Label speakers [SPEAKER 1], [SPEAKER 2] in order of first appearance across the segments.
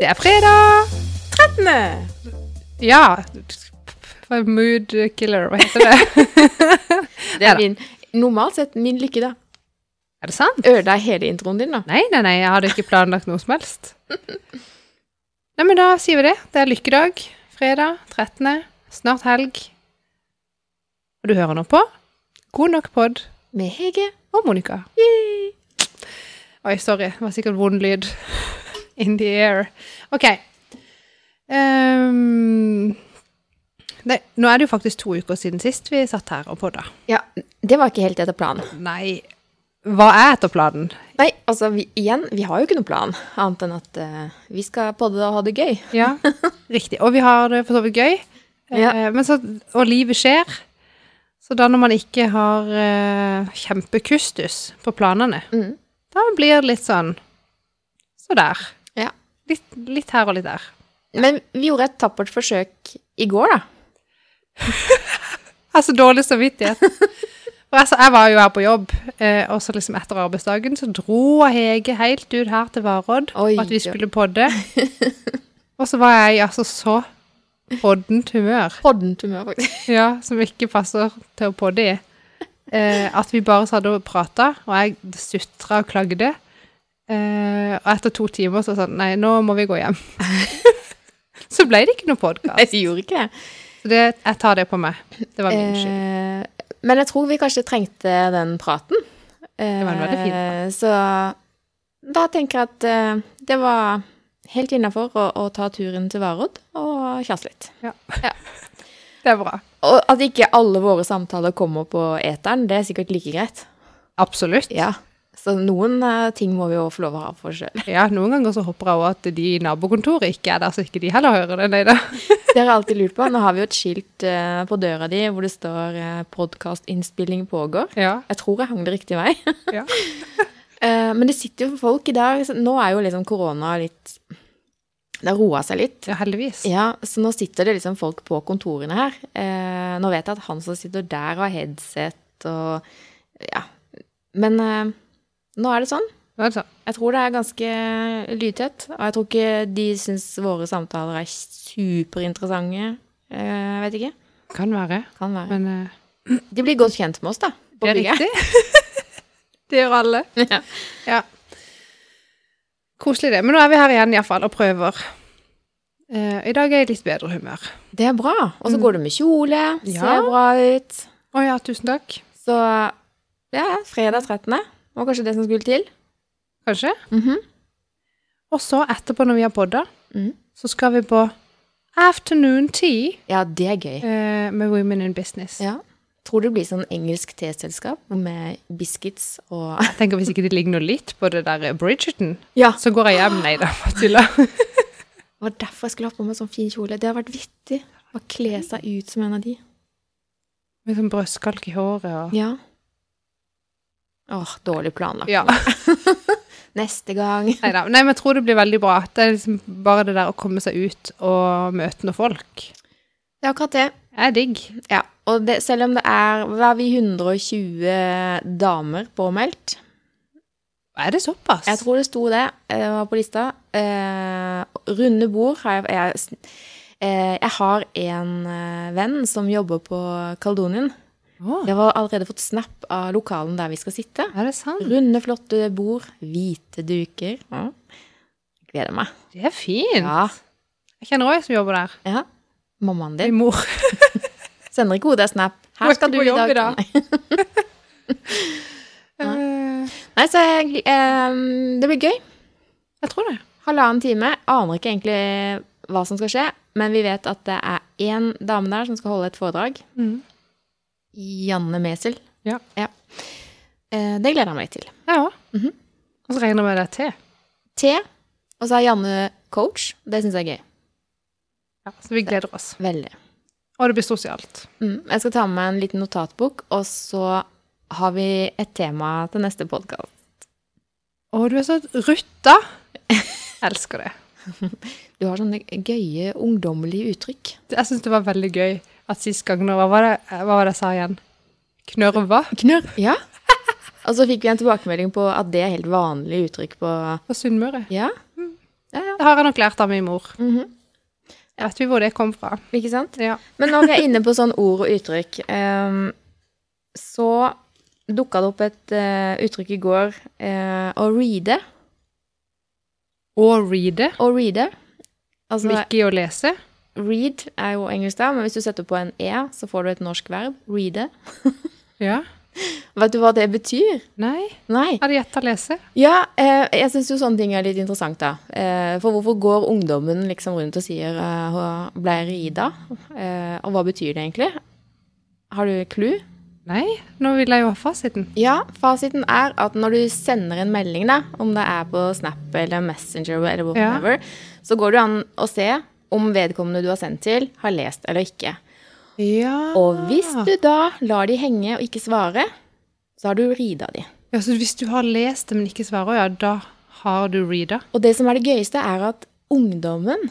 [SPEAKER 1] Det er fredag!
[SPEAKER 2] 13.
[SPEAKER 1] Ja. Mood killer, hva heter det?
[SPEAKER 2] Det
[SPEAKER 1] Neida.
[SPEAKER 2] er min, normalt sett min lykke, da.
[SPEAKER 1] er det sant?
[SPEAKER 2] Ødela jeg hele introen din, da?
[SPEAKER 1] Nei, nei, nei, jeg hadde ikke planlagt noe som helst. Nei, men da sier vi det. Det er lykkedag. Fredag 13. Snart helg. Og du hører nå på God nok pod
[SPEAKER 2] Med Hege.
[SPEAKER 1] og Monica.
[SPEAKER 2] Yay.
[SPEAKER 1] Oi, sorry. Det var sikkert vond lyd. In the air. Ok. Ehm, nei, nå er det jo faktisk to uker siden sist vi satt her og podda.
[SPEAKER 2] Ja, det var ikke helt etter planen.
[SPEAKER 1] Nei, hva er etter planen?
[SPEAKER 2] Nei, altså, vi, igjen, vi har jo ikke noen plan, annet enn at eh, vi skal podde og ha det gøy.
[SPEAKER 1] Ja, riktig. Og vi har det for så vidt gøy.
[SPEAKER 2] Ja.
[SPEAKER 1] Eh, men så, og livet skjer. Så da når man ikke har eh, kjempekustus på planene,
[SPEAKER 2] Mm.
[SPEAKER 1] da blir det litt sånn så der.
[SPEAKER 2] Ja.
[SPEAKER 1] Litt, litt her og litt der.
[SPEAKER 2] Men vi gjorde et tappert forsøk i går, da.
[SPEAKER 1] Jeg har så dårlig samvittighet. For altså, jeg var jo her på jobb, eh, og så liksom etter arbeidsdagen så dro Hege helt ut her til Varodd
[SPEAKER 2] Oi,
[SPEAKER 1] for at vi
[SPEAKER 2] ja.
[SPEAKER 1] skulle podde. Og så var jeg i altså så poddent humør,
[SPEAKER 2] Poddent humør, faktisk.
[SPEAKER 1] ja, som ikke passer til å podde i, eh, at vi bare satt og prata, og jeg sutra og klagde. Eh, og etter to timer så sånn Nei, nå må vi gå hjem. så ble det ikke noe podkast.
[SPEAKER 2] Nei, vi gjorde ikke det.
[SPEAKER 1] Så det, jeg tar det på meg. Det var min skyld.
[SPEAKER 2] Eh, men jeg tror vi kanskje trengte den praten. det
[SPEAKER 1] var en veldig fin
[SPEAKER 2] Så da tenker jeg at eh, det var helt innafor å, å ta turen til Varodd og tjase litt.
[SPEAKER 1] Det er bra.
[SPEAKER 2] Og at ikke alle våre samtaler kommer på eteren, det er sikkert like greit.
[SPEAKER 1] Absolutt.
[SPEAKER 2] Ja. Så noen eh, ting må vi jo få lov å ha for oss sjøl.
[SPEAKER 1] Ja, noen ganger så håper jeg også at de i nabokontoret ikke er der, så ikke de heller hører det. Nei da.
[SPEAKER 2] Det har jeg alltid lurt på. Nå har vi jo et skilt eh, på døra di hvor det står eh, 'podkastinnspilling pågår'.
[SPEAKER 1] Ja,
[SPEAKER 2] Jeg tror jeg hang det riktig vei.
[SPEAKER 1] ja.
[SPEAKER 2] Eh, Men det sitter jo folk i dag så Nå er jo liksom korona litt Det har roa seg litt.
[SPEAKER 1] ja heldigvis.
[SPEAKER 2] Ja, så nå sitter det liksom folk på kontorene her. Eh, nå vet jeg at han som sitter der, har headset og Ja. Men eh, nå er det sånn.
[SPEAKER 1] Nå er det sånn.
[SPEAKER 2] Jeg tror det er ganske lydtett. Og jeg tror ikke de syns våre samtaler er superinteressante. Eh, jeg vet ikke.
[SPEAKER 1] Kan være,
[SPEAKER 2] Kan være.
[SPEAKER 1] men eh,
[SPEAKER 2] De blir godt kjent med oss, da. på
[SPEAKER 1] det er
[SPEAKER 2] bygget.
[SPEAKER 1] riktig. det gjør alle.
[SPEAKER 2] Ja.
[SPEAKER 1] Ja. Koselig det. Men nå er vi her igjen iallfall og prøver. Eh, I dag er jeg i litt bedre humør.
[SPEAKER 2] Det er bra. Og så går du med kjole.
[SPEAKER 1] Mm. Ja.
[SPEAKER 2] Ser bra ut.
[SPEAKER 1] Å ja, tusen takk.
[SPEAKER 2] Så ja, fredag 13. var kanskje det som skulle til.
[SPEAKER 1] Kanskje.
[SPEAKER 2] Mhm.
[SPEAKER 1] Og så etterpå, når vi har podda,
[SPEAKER 2] Mhm.
[SPEAKER 1] så skal vi på afternoon tea
[SPEAKER 2] Ja, det er gøy.
[SPEAKER 1] eh, med Women in Business.
[SPEAKER 2] Ja. Tror det blir sånn engelsk teselskap med biscuits og
[SPEAKER 1] Jeg tenker Hvis ikke det ligner noe litt på det der Bridgerton,
[SPEAKER 2] Ja.
[SPEAKER 1] så går jeg hjem. Nei da, bare tuller.
[SPEAKER 2] Det var derfor jeg skulle ha på meg sånn fin kjole. Det hadde vært vittig å kle seg ut som en av de.
[SPEAKER 1] Med sånn brøstkalk i håret og
[SPEAKER 2] Ja. Åh, dårlig planlagt.
[SPEAKER 1] Ja.
[SPEAKER 2] Neste gang.
[SPEAKER 1] Neida. Nei, men jeg tror det blir veldig bra. Det er liksom bare det der å komme seg ut og møte noen folk.
[SPEAKER 2] Det er akkurat det.
[SPEAKER 1] Det er digg.
[SPEAKER 2] Ja. Og det, selv om det er Hva er vi 120 damer påmeldt?
[SPEAKER 1] Er det såpass?
[SPEAKER 2] Jeg tror det sto det, eh, var på lista. Eh, runde bord har jeg jeg, eh, jeg har en eh, venn som jobber på Kaldonien.
[SPEAKER 1] Å,
[SPEAKER 2] Jeg har allerede fått snap av lokalen der vi skal sitte.
[SPEAKER 1] er det sant?
[SPEAKER 2] Runde, flotte bord, hvite duker. Ja. Gleder meg.
[SPEAKER 1] Det er fint.
[SPEAKER 2] Ja.
[SPEAKER 1] Jeg kjenner òg en som jobber der.
[SPEAKER 2] ja. Mammaen
[SPEAKER 1] Min
[SPEAKER 2] din
[SPEAKER 1] mor.
[SPEAKER 2] sender ikke hodet snap.
[SPEAKER 1] Må
[SPEAKER 2] Her skal
[SPEAKER 1] ikke
[SPEAKER 2] du
[SPEAKER 1] på
[SPEAKER 2] i
[SPEAKER 1] jobb
[SPEAKER 2] dag.
[SPEAKER 1] i dag.
[SPEAKER 2] Nei.
[SPEAKER 1] Eh,
[SPEAKER 2] Nei, så jeg, eh, det blir gøy.
[SPEAKER 1] jeg tror det.
[SPEAKER 2] Halvannen time. Aner ikke egentlig hva som skal skje, men vi vet at det er én dame der som skal holde et foredrag.
[SPEAKER 1] Mhm.
[SPEAKER 2] Janne Mesel.
[SPEAKER 1] Ja.
[SPEAKER 2] Eh, Det gleder jeg meg litt til.
[SPEAKER 1] Jeg òg.
[SPEAKER 2] Mhm.
[SPEAKER 1] Og så regner jeg med det er te.
[SPEAKER 2] T. Og så er Janne coach. Det syns jeg er gøy.
[SPEAKER 1] Ja, så vi gleder oss.
[SPEAKER 2] Veldig.
[SPEAKER 1] Og det blir sosialt.
[SPEAKER 2] Mm. Jeg skal ta med meg en liten notatbok, og så har vi et tema til neste podkast.
[SPEAKER 1] Å, du er så rutta! Elsker det.
[SPEAKER 2] Du har sånne gøye ungdommelige uttrykk.
[SPEAKER 1] Jeg syns det var veldig gøy at sist gang nå, hva var det, hva var det jeg sa igjen? Knørva
[SPEAKER 2] Knørr. Ja. Og så fikk vi en tilbakemelding på at det er helt vanlige uttrykk på
[SPEAKER 1] på Sunnmøre.
[SPEAKER 2] Ja. Ja, ja.
[SPEAKER 1] Det har jeg nok lært av min mor.
[SPEAKER 2] Mhm.
[SPEAKER 1] Vet vi hvor det kom fra?
[SPEAKER 2] Ikke sant?
[SPEAKER 1] Ja.
[SPEAKER 2] Men når vi er inne på sånn ord og uttrykk, ehm, så dukka det opp et eh, uttrykk i går eh, å reade.
[SPEAKER 1] Og reade,
[SPEAKER 2] Å reade. Altså
[SPEAKER 1] som ikke er å lese.
[SPEAKER 2] read er jo engelsk, da, men hvis du setter på en e, så får du et norsk verb. Reade.
[SPEAKER 1] Ja.
[SPEAKER 2] Vet du hva det betyr?
[SPEAKER 1] Nei,
[SPEAKER 2] Nei.
[SPEAKER 1] hadde gjetta lese.
[SPEAKER 2] Ja, eh, jeg syns jo sånne ting er litt interessant, da. Eh, for hvorfor går ungdommen liksom rundt og sier eh, «Hva ble rida? Eh, og hva betyr det egentlig? Har du clue?
[SPEAKER 1] Nei, nå vil jeg jo ha fasiten.
[SPEAKER 2] Ja, fasiten er at når du sender en melding, da, om det er på Snap eller Messenger eller whatever, så går det jo an å se om vedkommende du har sendt til, har lest eller ikke.
[SPEAKER 1] Ja.
[SPEAKER 2] Og hvis du da lar de henge og ikke svare, så har du rida de.
[SPEAKER 1] ja, så hvis du har lest det, men ikke svarer, ja, da har du reada.
[SPEAKER 2] Og det som er det gøyeste, er at ungdommen,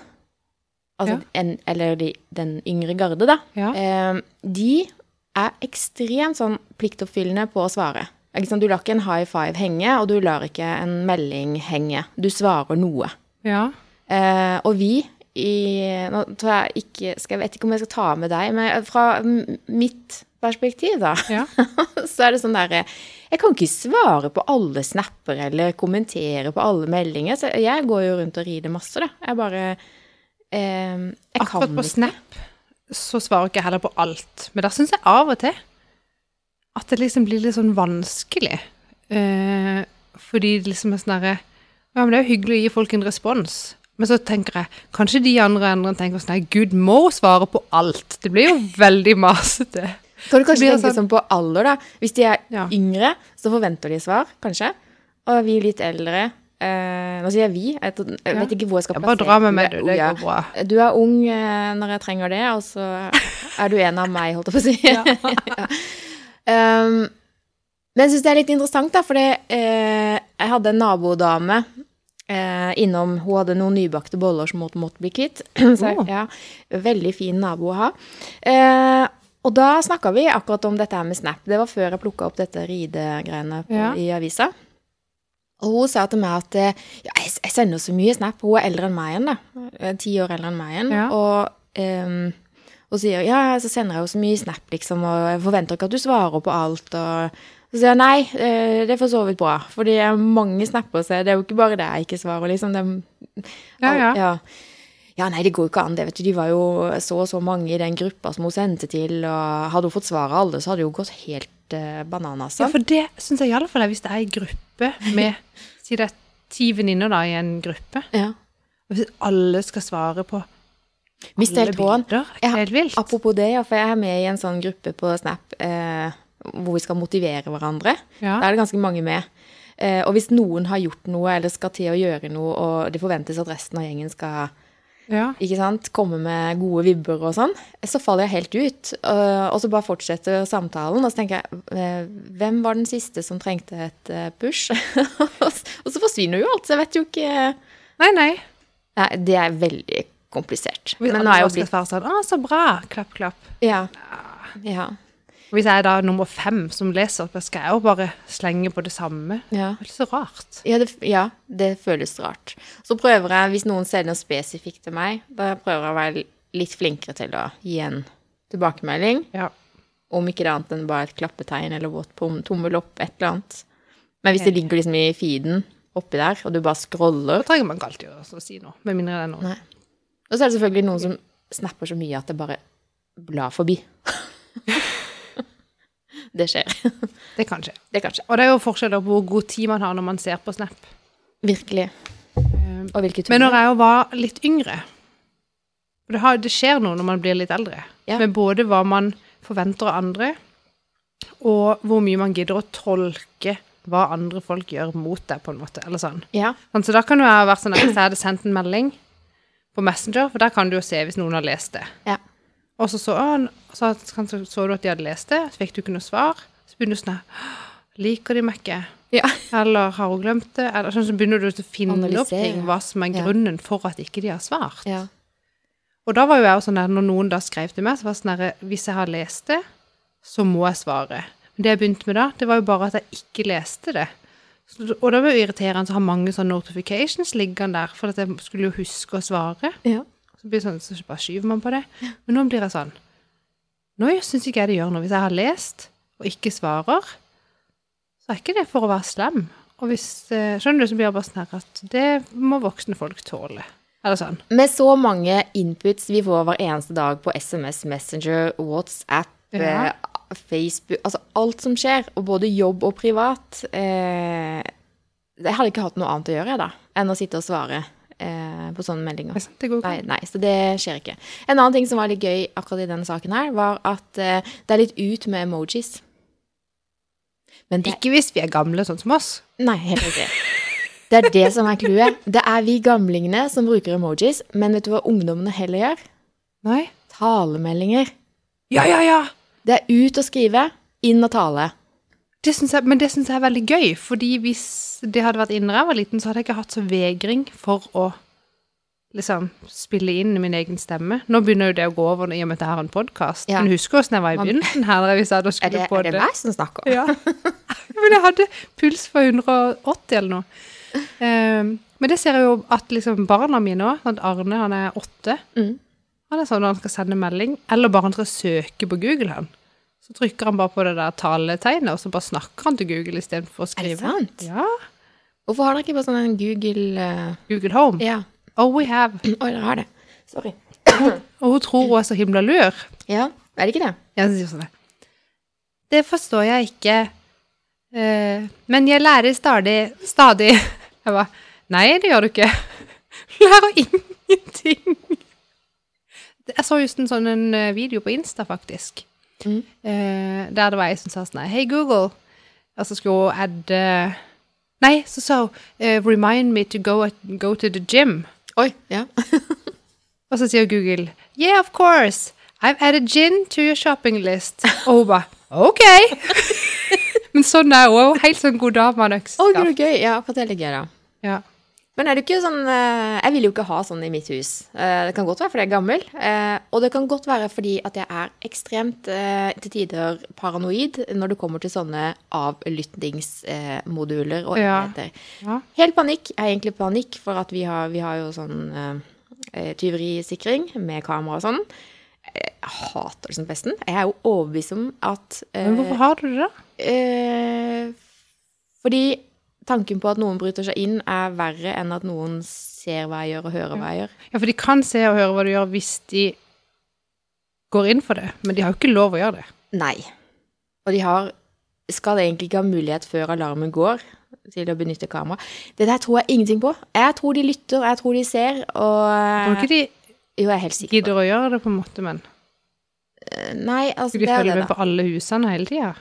[SPEAKER 1] Ja.
[SPEAKER 2] altså en, eller de, den yngre garde, da,
[SPEAKER 1] Ja.
[SPEAKER 2] eh, de er ekstremt sånn pliktoppfyllende på å svare. Ikke sant? Du lar ikke en high five henge, og du lar ikke en melding henge. Du svarer noe.
[SPEAKER 1] Ja.
[SPEAKER 2] Eh, og vi i Nå tror jeg ikke skal, Jeg vet ikke om jeg skal ta med deg, men fra m- mitt perspektiv, da,
[SPEAKER 1] Ja.
[SPEAKER 2] så er det sånn derre Jeg kan ikke svare på alle snapper eller kommentere på alle meldinger. Så jeg går jo rundt og rider masse, da. Jeg bare eh, Jeg
[SPEAKER 1] Akkurat
[SPEAKER 2] kan
[SPEAKER 1] på
[SPEAKER 2] ikke.
[SPEAKER 1] Snap så svarer ikke jeg heller på alt. Men da syns jeg av og til at det liksom blir litt sånn vanskelig. Eh, fordi det liksom er sånn derre Ja, men det er jo hyggelig å gi folk en respons. Men så tenker jeg kanskje de andre endene tenker sånn Nei, Gud må hun svare på alt. Det blir jo veldig masete.
[SPEAKER 2] Kan du kanskje
[SPEAKER 1] blir det
[SPEAKER 2] tenke sånn på alder, da? Hvis de er
[SPEAKER 1] Ja.
[SPEAKER 2] yngre, så forventer de svar, kanskje. Og vi litt eldre eh, Nå sier jeg vi. Jeg, tror- jeg
[SPEAKER 1] Ja.
[SPEAKER 2] vet ikke hvor jeg skal
[SPEAKER 1] Jeg bare dra med meg,
[SPEAKER 2] det
[SPEAKER 1] du. Det
[SPEAKER 2] ordet.
[SPEAKER 1] går bra.
[SPEAKER 2] Du er ung eh, når jeg trenger det, og så er du en av meg, holdt jeg på å si. Ja. um, men jeg syns det er litt interessant, da, fordi eh, jeg hadde en nabodame eh, innom Hun hadde noen nybakte boller som måtte, måtte bli kvitt. Så,
[SPEAKER 1] Oh.
[SPEAKER 2] ja, veldig fin nabo å ha. Eh, og da snakka vi akkurat om dette her med Snap. Det var før jeg plukka opp dette ridegreiene på,
[SPEAKER 1] Ja.
[SPEAKER 2] i avisa. Og hun sa til meg at eh, ja, jeg jeg sender så mye snap. Hun er eldre enn meg igjen, da. Eh, Ti år eldre enn meg igjen.
[SPEAKER 1] Ja.
[SPEAKER 2] Og ehm, hun sier ja, så sender jeg jo så mye snap, liksom, og jeg forventer ikke at du svarer på alt. Og så sier jeg nei, eh, det er for så vidt bra, for det er mange snapper, så det er jo ikke bare det jeg ikke svarer, liksom. Det er,
[SPEAKER 1] Ja, ja.
[SPEAKER 2] ja. Ja, nei, det går jo ikke an, det vet du. De var jo så og så mange i den gruppa som hun sendte til, og hadde hun fått svar av alle, så hadde det jo gått helt eh, bananas.
[SPEAKER 1] Ja, for det syns jeg iallfall er hvis det er ei gruppe med Si det er ti venninner da i en gruppe.
[SPEAKER 2] Ja.
[SPEAKER 1] og Hvis alle skal svare på
[SPEAKER 2] Mist
[SPEAKER 1] alle
[SPEAKER 2] helt tråden.
[SPEAKER 1] bilder, er ikke det helt vilt?
[SPEAKER 2] Apropos det, ja, for jeg er med i en sånn gruppe på Snap eh, hvor vi skal motivere hverandre.
[SPEAKER 1] Ja.
[SPEAKER 2] Da er det ganske mange med. Eh, og hvis noen har gjort noe eller skal til å gjøre noe, og det forventes at resten av gjengen skal
[SPEAKER 1] Ja.
[SPEAKER 2] ikke sant, komme med gode vibber og sånn, så faller jeg helt ut. Eh, og så bare fortsetter samtalen, og så tenker jeg eh, Hvem var den siste som trengte et eh, push? og s- og så forsvinner jo alt, så jeg vet jo ikke
[SPEAKER 1] Nei, nei.
[SPEAKER 2] Nei, det er veldig komplisert.
[SPEAKER 1] Hvis
[SPEAKER 2] Men nå
[SPEAKER 1] alle
[SPEAKER 2] er
[SPEAKER 1] bare
[SPEAKER 2] jeg jo
[SPEAKER 1] skal
[SPEAKER 2] blitt
[SPEAKER 1] svare sånn 'Å, så bra', klapp, klapp.
[SPEAKER 2] Ja. ja.
[SPEAKER 1] Og Hvis jeg er da nummer fem som leser, da skal jeg jo bare slenge på det samme.
[SPEAKER 2] ja.
[SPEAKER 1] Det er så rart.
[SPEAKER 2] Ja det, ja, det føles rart. Så prøver jeg, hvis noen sender noe spesifikt til meg, da prøver jeg å være litt flinkere til å gi en tilbakemelding.
[SPEAKER 1] Ja.
[SPEAKER 2] Om ikke det annet enn bare et klappetegn eller våt pom- tommel opp, et eller annet. Men hvis det ligger liksom i feeden oppi der, og du bare scroller
[SPEAKER 1] Da trenger man ikke alltid å så si noe, med mindre det er noe.
[SPEAKER 2] Nei. Og så er det selvfølgelig noen som snapper så mye at det bare blar forbi. det skjer.
[SPEAKER 1] Det kan skje.
[SPEAKER 2] Det kan skje.
[SPEAKER 1] Og det er jo forskjeller på hvor god tid man har når man ser på Snap.
[SPEAKER 2] Virkelig.
[SPEAKER 1] Eh,
[SPEAKER 2] Og hvilke
[SPEAKER 1] Men når jeg jo var litt yngre For det, har, det skjer noe når man blir litt eldre.
[SPEAKER 2] Ja.
[SPEAKER 1] Med både hva man forventer av andre, og hvor mye man gidder å tolke hva andre folk gjør mot deg, på en måte. Eller sånn.
[SPEAKER 2] Ja.
[SPEAKER 1] Sånn, Så da kan jo jeg ha vært sånn at hvis jeg hadde sendt en melding på Messenger, for der kan du jo se hvis noen har lest det.
[SPEAKER 2] Ja.
[SPEAKER 1] Og så så, å, n- så, så, så, så du at de hadde lest det, så fikk du ikke noe svar. Så begynner du sånn her, Liker de meg ikke?
[SPEAKER 2] ja.
[SPEAKER 1] Eller har hun glemt det? Eller sånn, så begynner du å finne opp
[SPEAKER 2] Analysere.
[SPEAKER 1] ting, hva som er
[SPEAKER 2] Ja.
[SPEAKER 1] grunnen for at ikke de har svart.
[SPEAKER 2] ja.
[SPEAKER 1] Og da var jo jeg også sånn der, når noen da skrev til meg, så var det sånn der, hvis jeg har lest det, så må jeg svare. Men det jeg begynte med da, det var jo bare at jeg ikke leste det. Så- Og det var jo irriterende å ha mange sånne notifications liggende der, for at jeg skulle jo huske å svare.
[SPEAKER 2] Ja.
[SPEAKER 1] Så blir det sånn, så bare skyver man på det. Men nå blir jeg sånn Nå syns ikke jeg det gjør noe. Hvis jeg har lest og ikke svarer, så er ikke det for å være slem. Og hvis, eh, skjønner du, så blir jeg bare sånn her at det må voksne folk tåle. Eller sånn.
[SPEAKER 2] Med så mange inputs vi får hver eneste dag på SMS, Messenger, WhatsApp,
[SPEAKER 1] Ja.
[SPEAKER 2] eh, Facebook Altså alt som skjer, og både jobb og privat eh, Jeg hadde ikke hatt noe annet å gjøre jeg, da, enn å sitte og svare eh, på sånne meldinger.
[SPEAKER 1] Det er sant, Det går ikke.
[SPEAKER 2] Nei, nei, så det skjer ikke. En annen ting som var litt gøy akkurat i denne saken her, var at eh, det er litt ut med emojis. Men det
[SPEAKER 1] Ikke hvis vi er gamle, sånn som oss.
[SPEAKER 2] Nei, helt riktig. Det er det som er clouet. Det er vi gamlingene som bruker emojis, men vet du hva ungdommene heller gjør?
[SPEAKER 1] Nei.
[SPEAKER 2] Talemeldinger.
[SPEAKER 1] Ja, ja, ja!
[SPEAKER 2] Det er ut å skrive, inn å tale.
[SPEAKER 1] Det synes jeg, men det syns jeg er veldig gøy, fordi hvis det hadde vært innen jeg var liten, så hadde jeg ikke hatt så vegring for å liksom spille inn min egen stemme. Nå begynner jo det å gå over i og med at jeg har en podkast.
[SPEAKER 2] Ja.
[SPEAKER 1] Men husker hvordan jeg var i
[SPEAKER 2] Man-
[SPEAKER 1] begynnelsen her, da vi satt og
[SPEAKER 2] Er det,
[SPEAKER 1] skulle på
[SPEAKER 2] er det
[SPEAKER 1] det?
[SPEAKER 2] meg som snakker?
[SPEAKER 1] Ja. men jeg hadde puls på 180 eller noe. Ehm, men det ser jeg jo at liksom barna mine òg. Sånn at Arne, han er åtte.
[SPEAKER 2] Mm.
[SPEAKER 1] Han er sånn når han skal sende melding, eller bare han skal søke på Google, han. Så trykker han bare på det der taletegnet, og så bare snakker han til Google istedenfor å
[SPEAKER 2] Er det
[SPEAKER 1] skrive.
[SPEAKER 2] sant?
[SPEAKER 1] Ja.
[SPEAKER 2] Hvorfor har dere ikke bare sånn en Google eh,
[SPEAKER 1] Google Home.
[SPEAKER 2] Ja.
[SPEAKER 1] Oh, we have.
[SPEAKER 2] Oi, dere har det. Sorry.
[SPEAKER 1] Og hun tror hun er så himla lur.
[SPEAKER 2] Ja, er det ikke det?
[SPEAKER 1] Jeg sier sånn Det forstår jeg ikke. Eh, men jeg lærer stadig Stadig. Jeg bare Nei, det gjør du ikke. Du lærer ingenting. Jeg så just en sånn en eh, video på Insta, faktisk.
[SPEAKER 2] Mhm.
[SPEAKER 1] Eh, der det var ei som sa sånn her, Hei, Google. Og så skulle hun adde Nei, så sa hun eh, Remind me to go, at, go to the gym.
[SPEAKER 2] Oi, ja.
[SPEAKER 1] Og så sier Google, yeah, of course, I've added gin to your shopping list. Og hun bare, ok. Men sånn er hun, hun er helt sånn god dame av
[SPEAKER 2] Å,
[SPEAKER 1] nøkselskap.
[SPEAKER 2] gud, så gøy. Ja, akkurat det er litt gøy, da.
[SPEAKER 1] Ja.
[SPEAKER 2] Men er det ikke sånn eh, Jeg vil jo ikke ha sånn i mitt hus. Eh, Det kan godt være fordi jeg er gammel, eh, og det kan godt være fordi at jeg er ekstremt eh, til tider paranoid når det kommer til sånne avlyttingsmoduler og
[SPEAKER 1] Ja.
[SPEAKER 2] enheter.
[SPEAKER 1] Ja.
[SPEAKER 2] Helt panikk. Jeg er egentlig i panikk for at vi har, vi har jo sånn eh, eh, tyverisikring med kamera og sånn. Jeg hater det som pesten. Jeg er jo overbevist om at eh,
[SPEAKER 1] Men hvorfor har du det da?
[SPEAKER 2] Eh, fordi tanken på at noen bryter seg inn, er verre enn at noen ser hva jeg gjør og hører hva jeg gjør.
[SPEAKER 1] Ja, for de kan se og høre hva du gjør hvis de går inn for det, men de har jo ikke lov å gjøre det.
[SPEAKER 2] Nei. Og de har skal egentlig ikke ha mulighet før alarmen går til å benytte kamera. Det der tror jeg ingenting på. Jeg tror de lytter, jeg tror de ser,
[SPEAKER 1] Tror
[SPEAKER 2] og eh,
[SPEAKER 1] ikke de
[SPEAKER 2] Jo, jeg er helt sikker på det.
[SPEAKER 1] gidder å gjøre det på en måte, men
[SPEAKER 2] Nei, altså,
[SPEAKER 1] skulle de
[SPEAKER 2] det er jo
[SPEAKER 1] følge
[SPEAKER 2] det,
[SPEAKER 1] med
[SPEAKER 2] da.
[SPEAKER 1] på alle husene hele tiden?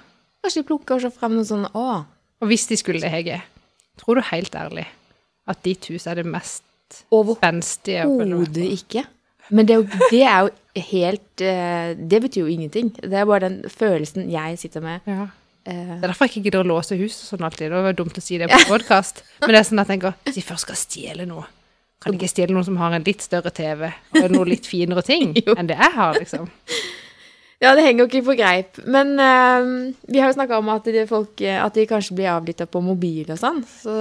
[SPEAKER 2] Kanskje de plukker seg frem noe sånn Å,
[SPEAKER 1] Og hvis de skulle det, Hege, tror du helt ærlig at ditt hus er det mest
[SPEAKER 2] overhodet
[SPEAKER 1] spenstige? å følge med på?
[SPEAKER 2] Overhodet ikke. Men det er jo, det er jo helt eh, Det betyr jo ingenting. Det er bare den følelsen jeg sitter med.
[SPEAKER 1] Ja.
[SPEAKER 2] eh,
[SPEAKER 1] Det er derfor jeg ikke gidder å låse huset sånn alltid. Det var dumt å si det på podkast. Men det er sånn at jeg tenker, hvis jeg først skal stjele noe, kan jeg ikke stjele noen som har en litt større TV, og noe litt finere ting enn det jeg har, liksom.
[SPEAKER 2] Ja, det henger jo ikke på greip. Men eh, vi har jo snakka om at de, folk, eh, at de kanskje blir avlytta på mobil og sånn. Så,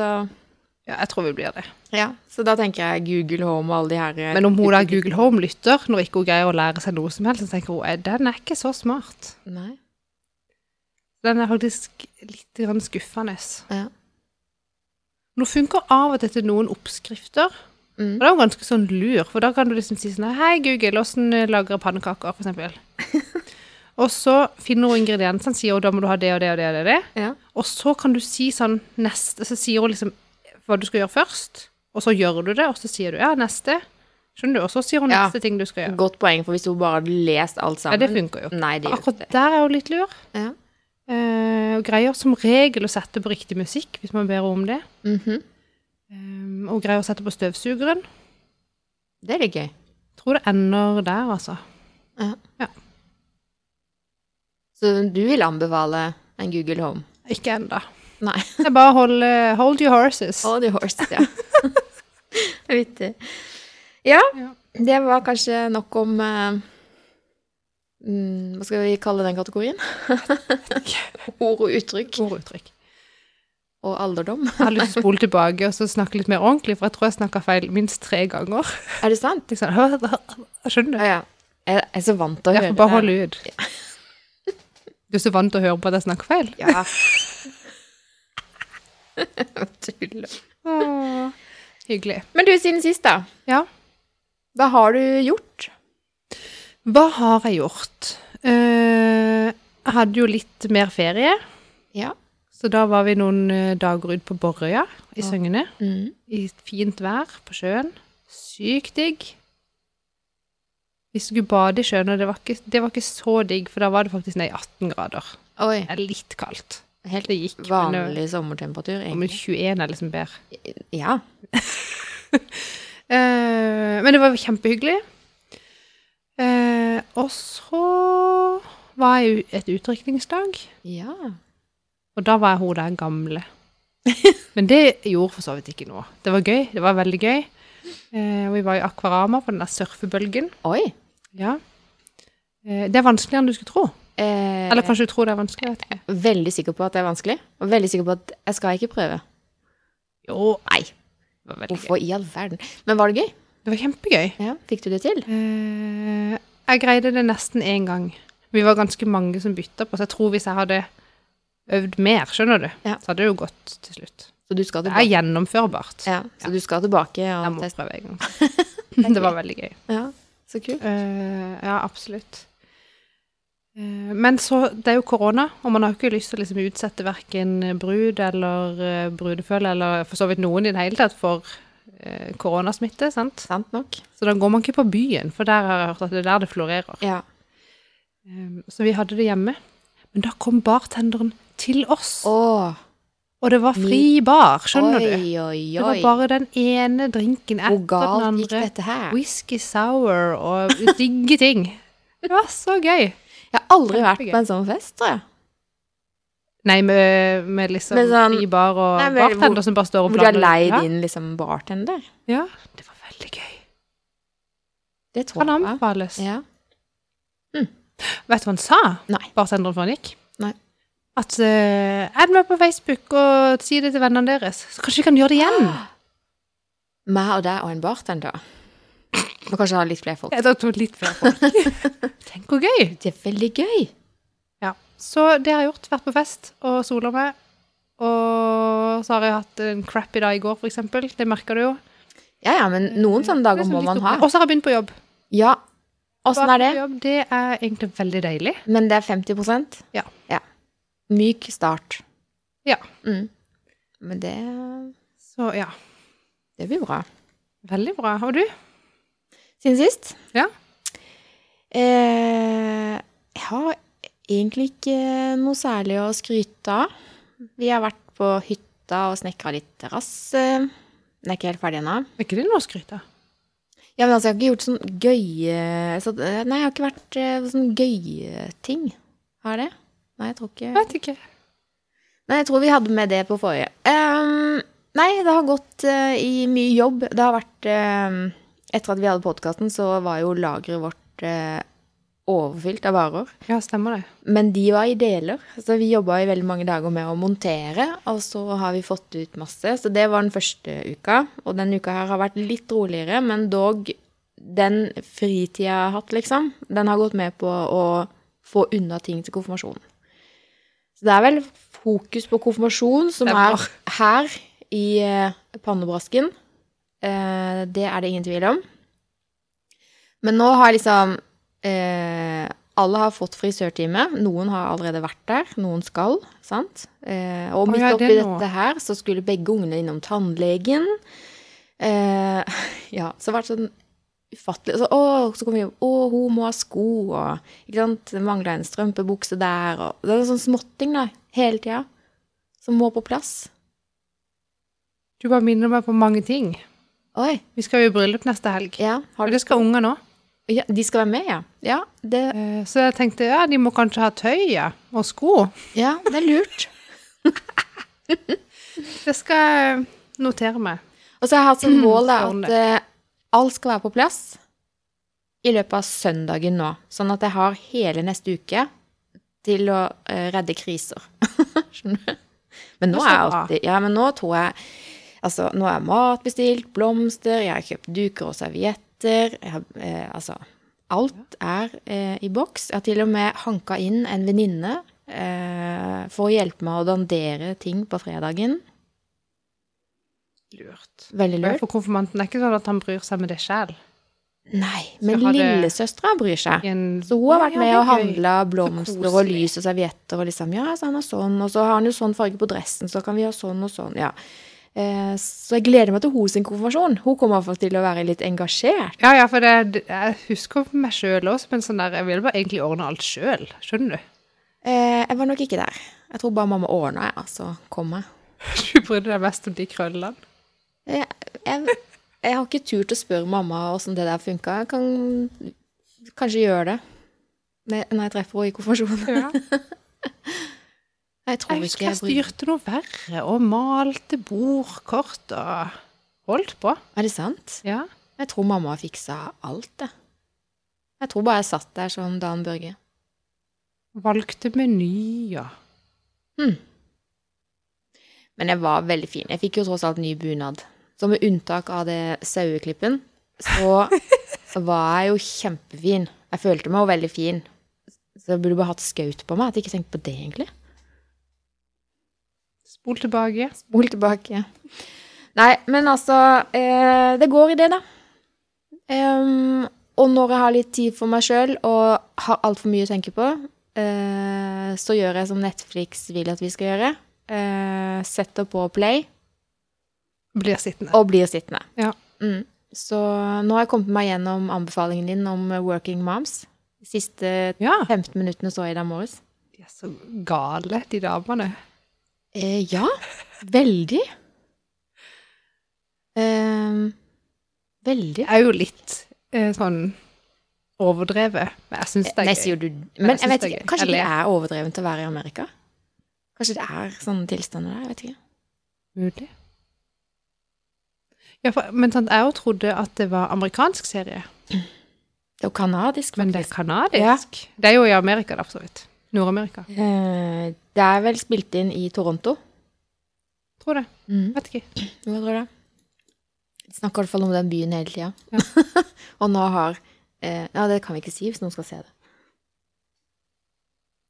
[SPEAKER 1] Ja, jeg tror vi blir det.
[SPEAKER 2] ja. så da tenker jeg Google Home og alle de her eh,
[SPEAKER 1] Men om hun da Google Home lytter, når ikke hun greier å lære seg noe som helst, så tenker hun "Eh, den er ikke så smart.
[SPEAKER 2] Nei.
[SPEAKER 1] Den er faktisk litt grann skuffende.
[SPEAKER 2] Ja.
[SPEAKER 1] Nå funker av og til til noen oppskrifter.
[SPEAKER 2] Mm.
[SPEAKER 1] Og det er jo ganske sånn lur, for da kan du liksom si sånn Hei, Google, åssen lager jeg pannekaker, for eksempel. og så finner hun ingrediensene, sier hun da må du ha det og det og det og det. Og,
[SPEAKER 2] Ja.
[SPEAKER 1] det. og så kan du si sånn neste Så sier hun liksom hva du skal gjøre først, og så gjør du det, og så sier du ja, neste. Skjønner du? Og så sier hun
[SPEAKER 2] Ja.
[SPEAKER 1] neste ting du skal gjøre.
[SPEAKER 2] Godt poeng, for hvis hun bare hadde lest alt
[SPEAKER 1] Ja,
[SPEAKER 2] sammen
[SPEAKER 1] det funker jo.
[SPEAKER 2] Nei, det gjør
[SPEAKER 1] Akkurat
[SPEAKER 2] ikke det.
[SPEAKER 1] der er hun litt lur.
[SPEAKER 2] Ja.
[SPEAKER 1] Eh, og greier som regel å sette på riktig musikk, hvis man ber henne om det.
[SPEAKER 2] Mhm.
[SPEAKER 1] Eh, og greier å sette på støvsugeren.
[SPEAKER 2] Det er litt gøy.
[SPEAKER 1] Tror det ender der, altså.
[SPEAKER 2] Så du vil anbefale en Google Home?
[SPEAKER 1] Ikke ennå.
[SPEAKER 2] Nei.
[SPEAKER 1] Det er bare å holde Hold your horses.
[SPEAKER 2] All the horses, ja. Vittig. Ja,
[SPEAKER 1] Ja.
[SPEAKER 2] det var kanskje nok om eh, mm, Hva skal vi kalle den kategorien? Ord og uttrykk.
[SPEAKER 1] Orduttrykk.
[SPEAKER 2] og alderdom.
[SPEAKER 1] Jeg har lyst til å spole tilbake og så snakke litt mer ordentlig, for jeg tror jeg snakka feil minst tre ganger.
[SPEAKER 2] Er det sant?
[SPEAKER 1] Liksom, jeg skjønner du?
[SPEAKER 2] Å ja. Jeg jeg er så vant til å
[SPEAKER 1] Jeg
[SPEAKER 2] høre
[SPEAKER 1] får bare
[SPEAKER 2] det.
[SPEAKER 1] holde ut. Du er så vant til å høre på at jeg snakker feil.
[SPEAKER 2] Ja. Tuller.
[SPEAKER 1] Åh, hyggelig.
[SPEAKER 2] Men du, siden sist, da.
[SPEAKER 1] Ja.
[SPEAKER 2] Hva har du gjort?
[SPEAKER 1] Hva har jeg gjort? Eh, jeg hadde jo litt mer ferie,
[SPEAKER 2] Ja.
[SPEAKER 1] så da var vi noen eh, dager ut på Borrøya i
[SPEAKER 2] Ja.
[SPEAKER 1] Søgne.
[SPEAKER 2] Mm.
[SPEAKER 1] I fint vær på sjøen. Sykt digg. Vi skulle bade i sjøen, og det var, ikke, det var ikke så digg, for da var det faktisk ned i 18 grader.
[SPEAKER 2] Oi.
[SPEAKER 1] Det er litt kaldt.
[SPEAKER 2] Helt
[SPEAKER 1] Det gikk, men det-
[SPEAKER 2] vanlig sommertemperatur,
[SPEAKER 1] Men
[SPEAKER 2] egentlig.
[SPEAKER 1] 21 er liksom bedre.
[SPEAKER 2] Ja.
[SPEAKER 1] Eh, men det var kjempehyggelig. Eh, og så var jeg u- et utdrikningsdag,
[SPEAKER 2] Ja.
[SPEAKER 1] og da var jeg hun der gamle. Men det gjorde for så vidt ikke noe. Det var gøy. Det var veldig gøy. Eh, vi var i Akvarama på den der surfebølgen.
[SPEAKER 2] Oi.
[SPEAKER 1] Ja. Eh, det er vanskeligere enn du skulle tro.
[SPEAKER 2] Eh,
[SPEAKER 1] Eller kanskje du tror det er vanskelig. jeg Vet ikke.
[SPEAKER 2] Veldig sikker på at det er vanskelig. Og veldig sikker på at jeg skal ikke prøve.
[SPEAKER 1] Jo,
[SPEAKER 2] Nei,
[SPEAKER 1] det var veldig gøy.
[SPEAKER 2] hvorfor i all verden? Men var det gøy?
[SPEAKER 1] Det var kjempegøy.
[SPEAKER 2] Ja, Fikk du det til?
[SPEAKER 1] Eh, jeg greide det nesten én gang. Vi var ganske mange som bytta på, så jeg tror hvis jeg hadde øvd mer, skjønner du,
[SPEAKER 2] Ja.
[SPEAKER 1] så hadde det jo gått til slutt.
[SPEAKER 2] Så du skal
[SPEAKER 1] Det er
[SPEAKER 2] tilbake,
[SPEAKER 1] gjennomførbart.
[SPEAKER 2] ja, så du skal tilbake
[SPEAKER 1] Jeg
[SPEAKER 2] og
[SPEAKER 1] må
[SPEAKER 2] teste?
[SPEAKER 1] prøve en gang. det var veldig gøy.
[SPEAKER 2] Ja, så kult.
[SPEAKER 1] Eh, ja, absolutt. Eh, Men så, det er jo korona, og man har jo ikke lyst til å liksom utsette verken brud eller eh, brudefølge, eller for så vidt noen i det hele tatt, for eh, koronasmitte, sant?
[SPEAKER 2] Sant nok.
[SPEAKER 1] Så da går man ikke på byen, for der har jeg hørt at det er der det florerer.
[SPEAKER 2] Ja.
[SPEAKER 1] Um, Så vi hadde det hjemme. Men da kom bartenderen til oss,
[SPEAKER 2] Å,
[SPEAKER 1] og det var fri bar, skjønner
[SPEAKER 2] oi,
[SPEAKER 1] du?
[SPEAKER 2] oi, oi.
[SPEAKER 1] Det var bare den ene drinken etter
[SPEAKER 2] Hvor
[SPEAKER 1] den
[SPEAKER 2] galt gikk
[SPEAKER 1] andre.
[SPEAKER 2] dette her?
[SPEAKER 1] Whisky sour og digge ting. Det var så gøy.
[SPEAKER 2] Jeg har aldri vært
[SPEAKER 1] Kjempegøy.
[SPEAKER 2] på en sånn fest, tror jeg.
[SPEAKER 1] Nei, med, med liksom
[SPEAKER 2] Med sånn-
[SPEAKER 1] fri bar og
[SPEAKER 2] Nei, men hvor-
[SPEAKER 1] bartender som bare står og
[SPEAKER 2] Hvor de har
[SPEAKER 1] blander.
[SPEAKER 2] leid
[SPEAKER 1] Ja,
[SPEAKER 2] inn liksom bartender.
[SPEAKER 1] Ja, det var veldig gøy.
[SPEAKER 2] Det tror
[SPEAKER 1] Kan
[SPEAKER 2] jeg.
[SPEAKER 1] anbefales.
[SPEAKER 2] Ja.
[SPEAKER 1] Vet du hva han sa,
[SPEAKER 2] Nei.
[SPEAKER 1] bartenderen før han gikk?
[SPEAKER 2] Nei.
[SPEAKER 1] At eh, add meg på Facebook og si det til vennene deres. Så kanskje vi kan gjøre det igjen?
[SPEAKER 2] Ah. Meg og deg og en bartender. Må kanskje ha litt flere folk.
[SPEAKER 1] Jeg tar to litt flere folk. Tenk hvor gøy!
[SPEAKER 2] Det er veldig gøy.
[SPEAKER 1] Ja. Så det har jeg gjort. Vært på fest og sola meg. Og så har jeg hatt en crappy dag i går, for eksempel. Det merker du jo.
[SPEAKER 2] Ja, ja, men noen sånne
[SPEAKER 1] Det
[SPEAKER 2] dager
[SPEAKER 1] er
[SPEAKER 2] må
[SPEAKER 1] sånn litt
[SPEAKER 2] man
[SPEAKER 1] opp-
[SPEAKER 2] ha.
[SPEAKER 1] Og så har jeg begynt på jobb.
[SPEAKER 2] Ja. Åssen er det?
[SPEAKER 1] På Jobb, det er egentlig veldig deilig.
[SPEAKER 2] Men det er 50
[SPEAKER 1] Ja.
[SPEAKER 2] ja. Myk start.
[SPEAKER 1] Ja.
[SPEAKER 2] Mm. Men det,
[SPEAKER 1] Så ja,
[SPEAKER 2] det blir bra.
[SPEAKER 1] veldig bra. Og du?
[SPEAKER 2] Siden sist?
[SPEAKER 1] Ja.
[SPEAKER 2] Eh, jeg har egentlig ikke noe særlig å skryte av. Vi har vært på hytta og snekra litt terrasse. Den er ikke helt ferdig ennå.
[SPEAKER 1] Er ikke det noe å skryte av?
[SPEAKER 2] Ja, men altså, jeg har ikke gjort sånn gøye så, Nei, jeg har ikke vært eh, på sånn gøye ting. Har jeg det? Nei, jeg tror ikke
[SPEAKER 1] Vet ikke.
[SPEAKER 2] Nei, jeg tror vi hadde med det på forrige. Ehm, nei, det har gått eh, i mye jobb. Det har vært ehm, Etter at vi hadde podkasten, så var jo lageret vårt eh, overfylt av varer.
[SPEAKER 1] Ja, stemmer det.
[SPEAKER 2] Men de var i deler, så vi jobba i veldig mange dager med å montere. Og så har vi fått ut masse. Så det var den første uka. Og den uka her har vært litt roligere, men dog den fritida jeg har hatt, liksom, den har gått med på å få unna ting til konfirmasjonen. Så det er vel fokus på konfirmasjon som er
[SPEAKER 1] Stemmer.
[SPEAKER 2] her i eh, pannebrasken. Eh, det er det ingen tvil om. Men nå har liksom eh, Alle har fått frisørtime. Noen har allerede vært der, noen skal. sant? Eh,
[SPEAKER 1] Å,
[SPEAKER 2] og midt
[SPEAKER 1] ja,
[SPEAKER 2] oppi
[SPEAKER 1] det nå.
[SPEAKER 2] dette her så skulle begge ungene innom tannlegen. Eh, ja, så har det vært sånn ufattelig så, Å, så kommer vi opp Å, hun må ha sko, og ikke sant? Det mangla en strømpebukse der, og Det er sånn småtting, da, hele tida, som må på plass.
[SPEAKER 1] Du bare minner meg på mange ting.
[SPEAKER 2] Oi.
[SPEAKER 1] Vi skal jo i bryllup neste helg.
[SPEAKER 2] Ja, har
[SPEAKER 1] Og
[SPEAKER 2] du
[SPEAKER 1] det skal ungene òg.
[SPEAKER 2] ja, De skal være med, ja. Ja, det
[SPEAKER 1] Eh, Så jeg tenkte ja, de må kanskje ha tøy ja, og sko.
[SPEAKER 2] Ja, det er lurt.
[SPEAKER 1] Det skal jeg notere meg.
[SPEAKER 2] Og så har jeg hatt som mål da,
[SPEAKER 1] Sånn
[SPEAKER 2] at eh, alt skal være på plass i løpet av søndagen nå. Sånn at jeg har hele neste uke til å eh, redde kriser. Skjønner du? Men nå
[SPEAKER 1] Det er så
[SPEAKER 2] er jeg
[SPEAKER 1] bra.
[SPEAKER 2] alltid Ja, men nå tror jeg Altså, nå er mat bestilt, blomster, jeg har kjøpt duker og servietter. Jeg har, eh, altså Alt er eh, i boks. Jeg har til og med hanka inn en venninne eh, for å hjelpe meg å dandere ting på fredagen.
[SPEAKER 1] Lurt.
[SPEAKER 2] Veldig lurt.
[SPEAKER 1] For konfirmanten er ikke sånn at han bryr seg med det sjæl.
[SPEAKER 2] Nei,
[SPEAKER 1] jeg
[SPEAKER 2] men
[SPEAKER 1] har det-
[SPEAKER 2] lillesøstera bryr seg. Så hun har vært med og handla blomster og lys og servietter og liksom Ja, så han har sånn, og så har han jo sånn farge på dressen, så kan vi ha sånn og sånn, ja. Eh, Så jeg gleder meg til hun sin konfirmasjon. Hun kommer i hvert fall til å være litt engasjert.
[SPEAKER 1] Ja, ja, for det, det- jeg husker for meg sjøl også, men sånn der, jeg vil bare egentlig ordne alt sjøl. Skjønner du?
[SPEAKER 2] Eh, Jeg var nok ikke der. Jeg tror bare mamma ordna, jeg, altså. Kom jeg.
[SPEAKER 1] Du brydde deg mest om de krøllene.
[SPEAKER 2] Jeg, jeg, jeg har ikke turt å spørre mamma åssen det der funka. Jeg kan kanskje gjøre det når jeg treffer henne i konfirmasjonen. Jeg tror
[SPEAKER 1] Jeg husker
[SPEAKER 2] ikke
[SPEAKER 1] jeg
[SPEAKER 2] jeg bryr
[SPEAKER 1] styrte noe verre og malte bordkort og holdt på.
[SPEAKER 2] Er det sant?
[SPEAKER 1] Ja.
[SPEAKER 2] Jeg tror mamma fiksa alt, jeg. Jeg tror bare jeg satt der som Dan Børge.
[SPEAKER 1] Valgte menyer.
[SPEAKER 2] Men jeg var veldig fin. Jeg fikk jo tross alt ny bunad. Så med unntak av det saueklippen, så var jeg jo kjempefin. Jeg følte meg jo veldig fin. Så jeg burde bare hatt skaut på meg. At jeg ikke tenkte på det, egentlig.
[SPEAKER 1] Spol tilbake.
[SPEAKER 2] Spol tilbake. Nei, men altså eh, Det går i det, da. Em, og når jeg har litt tid for meg sjøl og har altfor mye å tenke på, eh, så gjør jeg som Netflix vil at vi skal gjøre. Eh, setter på play
[SPEAKER 1] Blir sittende.
[SPEAKER 2] og blir sittende.
[SPEAKER 1] Ja.
[SPEAKER 2] Mm. Så nå har jeg kommet meg gjennom anbefalingen din om Working Moms. De siste
[SPEAKER 1] Ja.
[SPEAKER 2] 15 minuttene så jeg i dag morges.
[SPEAKER 1] De er så gale, de damene.
[SPEAKER 2] Eh, ja, veldig. Em, veldig.
[SPEAKER 1] Det er jo litt eh, sånn overdrevet, men jeg syns det
[SPEAKER 2] Eh, Nei,
[SPEAKER 1] er
[SPEAKER 2] sier
[SPEAKER 1] gøy.
[SPEAKER 2] du
[SPEAKER 1] Men
[SPEAKER 2] Men
[SPEAKER 1] jeg
[SPEAKER 2] jeg
[SPEAKER 1] synes
[SPEAKER 2] vet
[SPEAKER 1] det er
[SPEAKER 2] ikke,
[SPEAKER 1] gøy.
[SPEAKER 2] kanskje
[SPEAKER 1] Jeg
[SPEAKER 2] det
[SPEAKER 1] ler.
[SPEAKER 2] er overdrevent til å være i Amerika? Kanskje det er sånne tilstander der? Jeg vet ikke.
[SPEAKER 1] Mulig. Ja, for, men sant, jeg jo trodde at det var amerikansk serie.
[SPEAKER 2] Det er jo kanadisk,
[SPEAKER 1] Men det er
[SPEAKER 2] faktisk.
[SPEAKER 1] kanadisk. Det er jo i Amerika, da, for så vidt. Nord-Amerika.
[SPEAKER 2] Eh, det er vel spilt inn i Toronto.
[SPEAKER 1] Tror det.
[SPEAKER 2] Mm.
[SPEAKER 1] Vet ikke.
[SPEAKER 2] Hva tror du? De snakker i hvert fall om den byen hele tida. Og nå har eh, Ja, det kan vi ikke si hvis noen skal se det.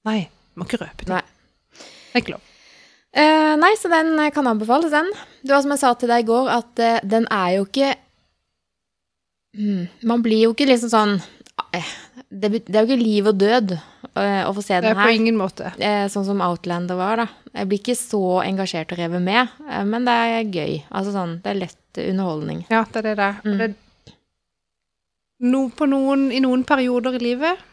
[SPEAKER 1] Nei, må ikke røpe det.
[SPEAKER 2] Nei.
[SPEAKER 1] Det er ikke lov.
[SPEAKER 2] Eh, nei, så den eh, kan anbefales, den. Det var som jeg sa til deg i går, at eh, den er jo ikke mm, Man blir jo ikke liksom sånn eh, det, bet- det er jo ikke liv og død eh, å få se
[SPEAKER 1] Det
[SPEAKER 2] den
[SPEAKER 1] er på
[SPEAKER 2] her.
[SPEAKER 1] ingen måte.
[SPEAKER 2] Eh, sånn som Outlander var, da. Jeg blir ikke så engasjert og revet med, eh, men det er gøy. Altså sånn, det er lett underholdning.
[SPEAKER 1] Ja, det er det der. Og
[SPEAKER 2] Mm.
[SPEAKER 1] det no, på noen, I noen perioder i livet,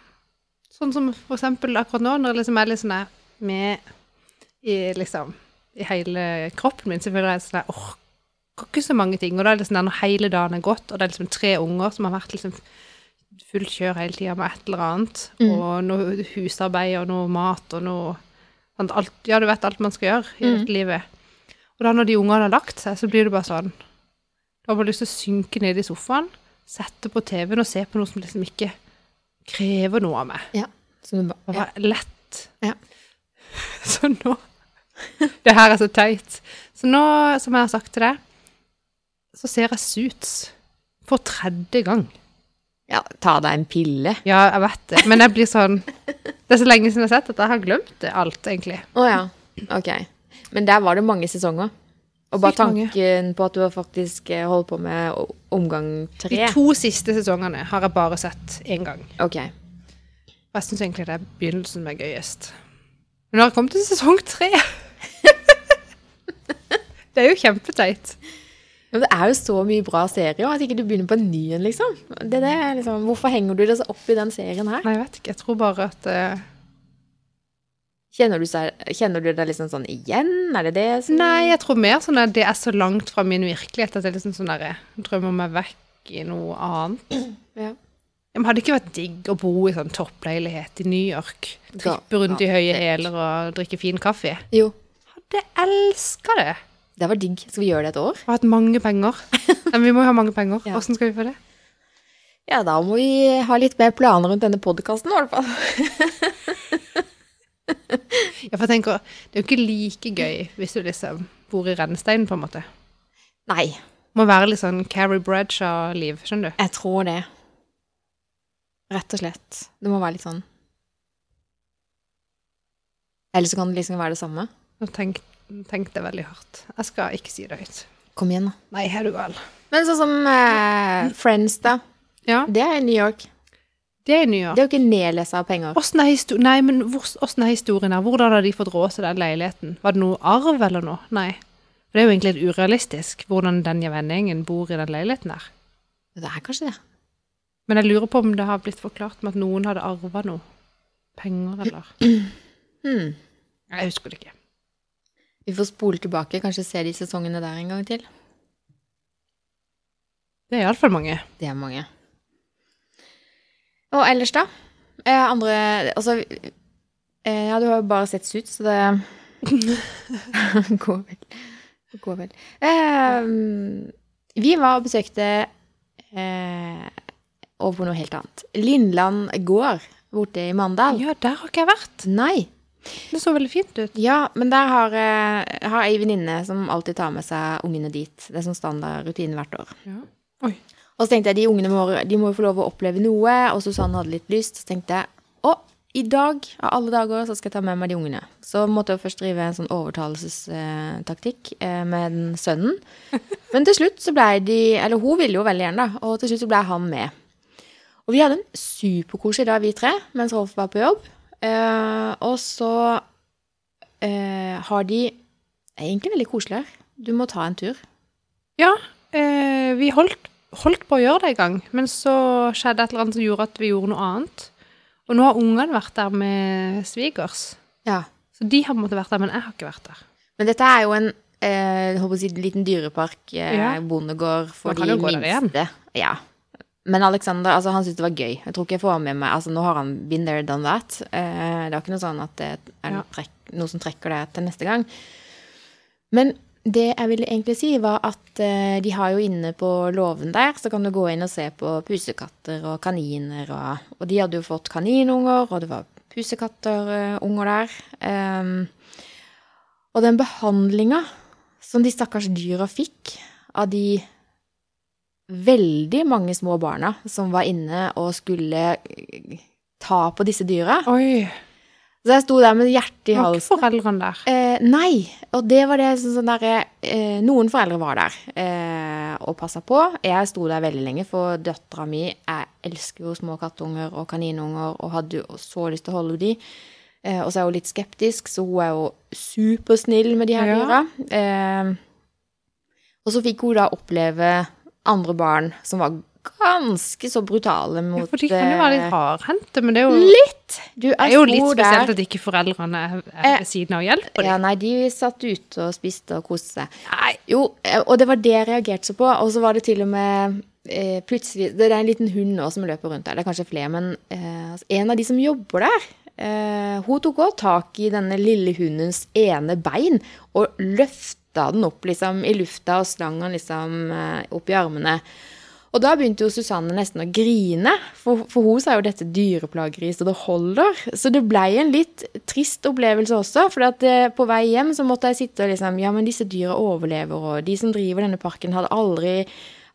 [SPEAKER 1] sånn som for eksempel akkurat nå, når jeg liksom er litt sånn her med i, liksom, i hele kroppen min, så føler jeg sånn her orker ikke så mange ting. Og da er det sånn her når hele dagen er gått, og det er liksom tre unger som har vært liksom fullt kjør hele tida med et eller annet,
[SPEAKER 2] Mm.
[SPEAKER 1] og noe husarbeid og noe mat og noe sant, alt, Ja, du vet alt man skal gjøre i
[SPEAKER 2] Mm.
[SPEAKER 1] dette livet. Og da når de ungene har lagt seg, så blir det bare sånn du har bare lyst til å synke ned i sofaen, sette på TV-en og se på noe som liksom ikke krever noe av meg.
[SPEAKER 2] Så du ba-
[SPEAKER 1] Det var lett.
[SPEAKER 2] Ja.
[SPEAKER 1] Så nå Det her er så teit. Så nå, som jeg har sagt til deg, så ser jeg Suits for tredje gang.
[SPEAKER 2] ja, ta deg en pille.
[SPEAKER 1] Ja, jeg vet det, men jeg blir sånn Det er så lenge siden jeg har sett at jeg har glemt det alt, egentlig.
[SPEAKER 2] Å ja. Ok. Men der var det mange sesonger. Og bare
[SPEAKER 1] Sykt mange.
[SPEAKER 2] tanken på at du har faktisk eh, holdt på med o- omgang
[SPEAKER 1] De
[SPEAKER 2] tre.
[SPEAKER 1] to siste sesongene har jeg bare sett én gang.
[SPEAKER 2] Ok.
[SPEAKER 1] Og jeg syns egentlig det er begynnelsen som er gøyest. Men nå har jeg kommet til sesong tre. det er jo kjempeteit.
[SPEAKER 2] Men det er jo så mye bra serier, at ikke du begynner på en ny en, liksom. Det, det er liksom. Hvorfor henger du deg så opp i den serien her?
[SPEAKER 1] Nei, jeg vet ikke. Jeg tror bare at eh,
[SPEAKER 2] Kjenner du, seg, kjenner du deg liksom sånn igjen? Er det det som
[SPEAKER 1] Nei, jeg tror mer sånn at det er så langt fra min virkelighet at jeg liksom sånn der, drømmer meg vekk i noe annet.
[SPEAKER 2] Ja.
[SPEAKER 1] Men hadde det ikke vært digg å bo i sånn toppleilighet i New York?
[SPEAKER 2] Ja,
[SPEAKER 1] Trippe rundt i høye
[SPEAKER 2] helt.
[SPEAKER 1] hæler og drikke fin kaffe?
[SPEAKER 2] Jo.
[SPEAKER 1] Hadde elska det!
[SPEAKER 2] Det var digg. Skal vi gjøre det et år?
[SPEAKER 1] Og hatt mange penger. Nei, Men vi må jo ha mange penger.
[SPEAKER 2] Ja.
[SPEAKER 1] Åssen skal vi få det?
[SPEAKER 2] Ja, da må vi ha litt mer planer rundt denne podkasten, i hvert fall.
[SPEAKER 1] Ja, for jeg tenker, det er jo ikke like gøy hvis du liksom bor i rennesteinen, på en måte.
[SPEAKER 2] Nei,
[SPEAKER 1] Må være litt sånn Carrie Bradshaw-liv, skjønner du.
[SPEAKER 2] jeg tror det. Rett og slett. Det må være litt sånn. Eller så kan det liksom være det samme.
[SPEAKER 1] Nå tenk- tenkte jeg veldig hardt. Jeg skal ikke si det høyt.
[SPEAKER 2] Kom igjen, da.
[SPEAKER 1] Nei, er du gal?
[SPEAKER 2] Men sånn som eh, Friends, da.
[SPEAKER 1] Ja,
[SPEAKER 2] Det er i New York.
[SPEAKER 1] det er i New York.
[SPEAKER 2] Det er jo ikke nedlesa av penger.
[SPEAKER 1] Åssen er, histo nei, men hvor, hvordan er historien her? Hvordan har de fått råd til den leiligheten? Var det noe arv eller noe? Nei. For det er jo egentlig litt urealistisk hvordan den vennegjengen bor i den leiligheten her.
[SPEAKER 2] Det er kanskje det.
[SPEAKER 1] Men jeg lurer på om det har blitt forklart med at noen hadde arva noe. Penger eller
[SPEAKER 2] Hmm.
[SPEAKER 1] Nei, Jeg husker det ikke.
[SPEAKER 2] Vi får spole tilbake, kanskje se de sesongene der en gang til.
[SPEAKER 1] Det er iallfall mange.
[SPEAKER 2] Det er mange. Og ellers, da? Eh, andre Altså eh, Ja, du har jo bare sett Suits, så det går vel. Det går vel. Eh, vi var og besøkte eh, over på noe helt annet. Lindland gård borte i Mandal.
[SPEAKER 1] Ja, der har ikke jeg vært.
[SPEAKER 2] Nei.
[SPEAKER 1] Det så veldig fint ut.
[SPEAKER 2] Ja, men der har, eh, har ei venninne som alltid tar med seg ungene dit. Det er sånn standard rutine hvert år.
[SPEAKER 1] Ja.
[SPEAKER 2] Og så tenkte jeg de ungene må, de må jo få lov å oppleve noe. Og Susanne hadde litt lyst. Så tenkte jeg å, i dag av alle dager så skal jeg ta med meg de ungene. Så måtte jeg først drive en sånn overtalelsestaktikk eh, med den sønnen. Men til slutt så blei de Eller hun ville jo veldig gjerne, da. Og til slutt så blei han med. Og vi hadde en superkoselig dag, vi tre, mens Rolf var på jobb. Eh, og så eh, har de Det er egentlig veldig koselig her. Du må ta en tur.
[SPEAKER 1] Eh, vi holdt, holdt på å gjøre det en gang, men så skjedde et eller annet som gjorde at vi gjorde noe annet. Og nå har ungene vært der med svigers.
[SPEAKER 2] Ja.
[SPEAKER 1] Så de har på en måte vært der, men jeg har ikke vært der.
[SPEAKER 2] Men dette er jo en eh, jeg håper å si, liten dyrepark, eh,
[SPEAKER 1] Ja.
[SPEAKER 2] bondegård for
[SPEAKER 1] Man kan
[SPEAKER 2] de
[SPEAKER 1] jo gå der igjen.
[SPEAKER 2] minste. Ja. Men Alexander altså, han syntes det var gøy. Jeg tror ikke jeg får med meg altså, Nå har han been there, done that. Eh, det er ikke noe sånn at det er
[SPEAKER 1] Ja.
[SPEAKER 2] noe, trekk, noe som trekker deg til neste gang. Men det jeg ville egentlig si, var at eh, de har jo inne på låven der, så kan du gå inn og se på pusekatter og kaniner. Og, og de hadde jo fått kaninunger, og det var pusekatterunger der. Ehm, og den behandlinga som de stakkars dyra fikk av de veldig mange små barna som var inne og skulle eh, ta på disse dyra
[SPEAKER 1] Oi,
[SPEAKER 2] Så jeg sto der med hjertet i
[SPEAKER 1] det var
[SPEAKER 2] halsen.
[SPEAKER 1] ikke foreldrene der.
[SPEAKER 2] Eh, nei, og det var det sånn, sånn der, eh, Noen foreldre var der eh, og passa på. Jeg sto der veldig lenge, for døtra mi Jeg elsker jo små kattunger og kaninunger og hadde jo så lyst til å holde de. Eh, og så er hun litt skeptisk, så hun er jo supersnill med de her
[SPEAKER 1] Ja.
[SPEAKER 2] dyra. Eh, og så fikk hun da oppleve andre barn som var ganske så brutale
[SPEAKER 1] Ja,
[SPEAKER 2] mot
[SPEAKER 1] for de kan jo være litt
[SPEAKER 2] eh,
[SPEAKER 1] hardhendte, men det er jo,
[SPEAKER 2] Litt! Du
[SPEAKER 1] det
[SPEAKER 2] er,
[SPEAKER 1] er jo litt
[SPEAKER 2] stor der.
[SPEAKER 1] spesielt at ikke foreldrene er er ved siden av og hjelper
[SPEAKER 2] Ja,
[SPEAKER 1] dem.
[SPEAKER 2] nei, de satt ute og spiste og koste seg.
[SPEAKER 1] Nei,
[SPEAKER 2] Jo, eh, og det var det jeg reagerte så på. Og så var det til og med eh, plutselig Det er en liten hund nå som løper rundt der. Det er kanskje flere, men eh, altså, en av de som jobber der, eh, hun tok også tak i denne lille hundens ene bein og løfta den opp liksom, i lufta og slang den liksom, eh, opp i armene. Og da begynte jo Susanne nesten å grine, for, for hun sa jo dette dyreplageri, så det holder. Så det blei en litt trist opplevelse også, for at eh, på vei hjem så måtte jeg sitte og liksom Ja, men disse dyra overlever, og de som driver denne parken, hadde aldri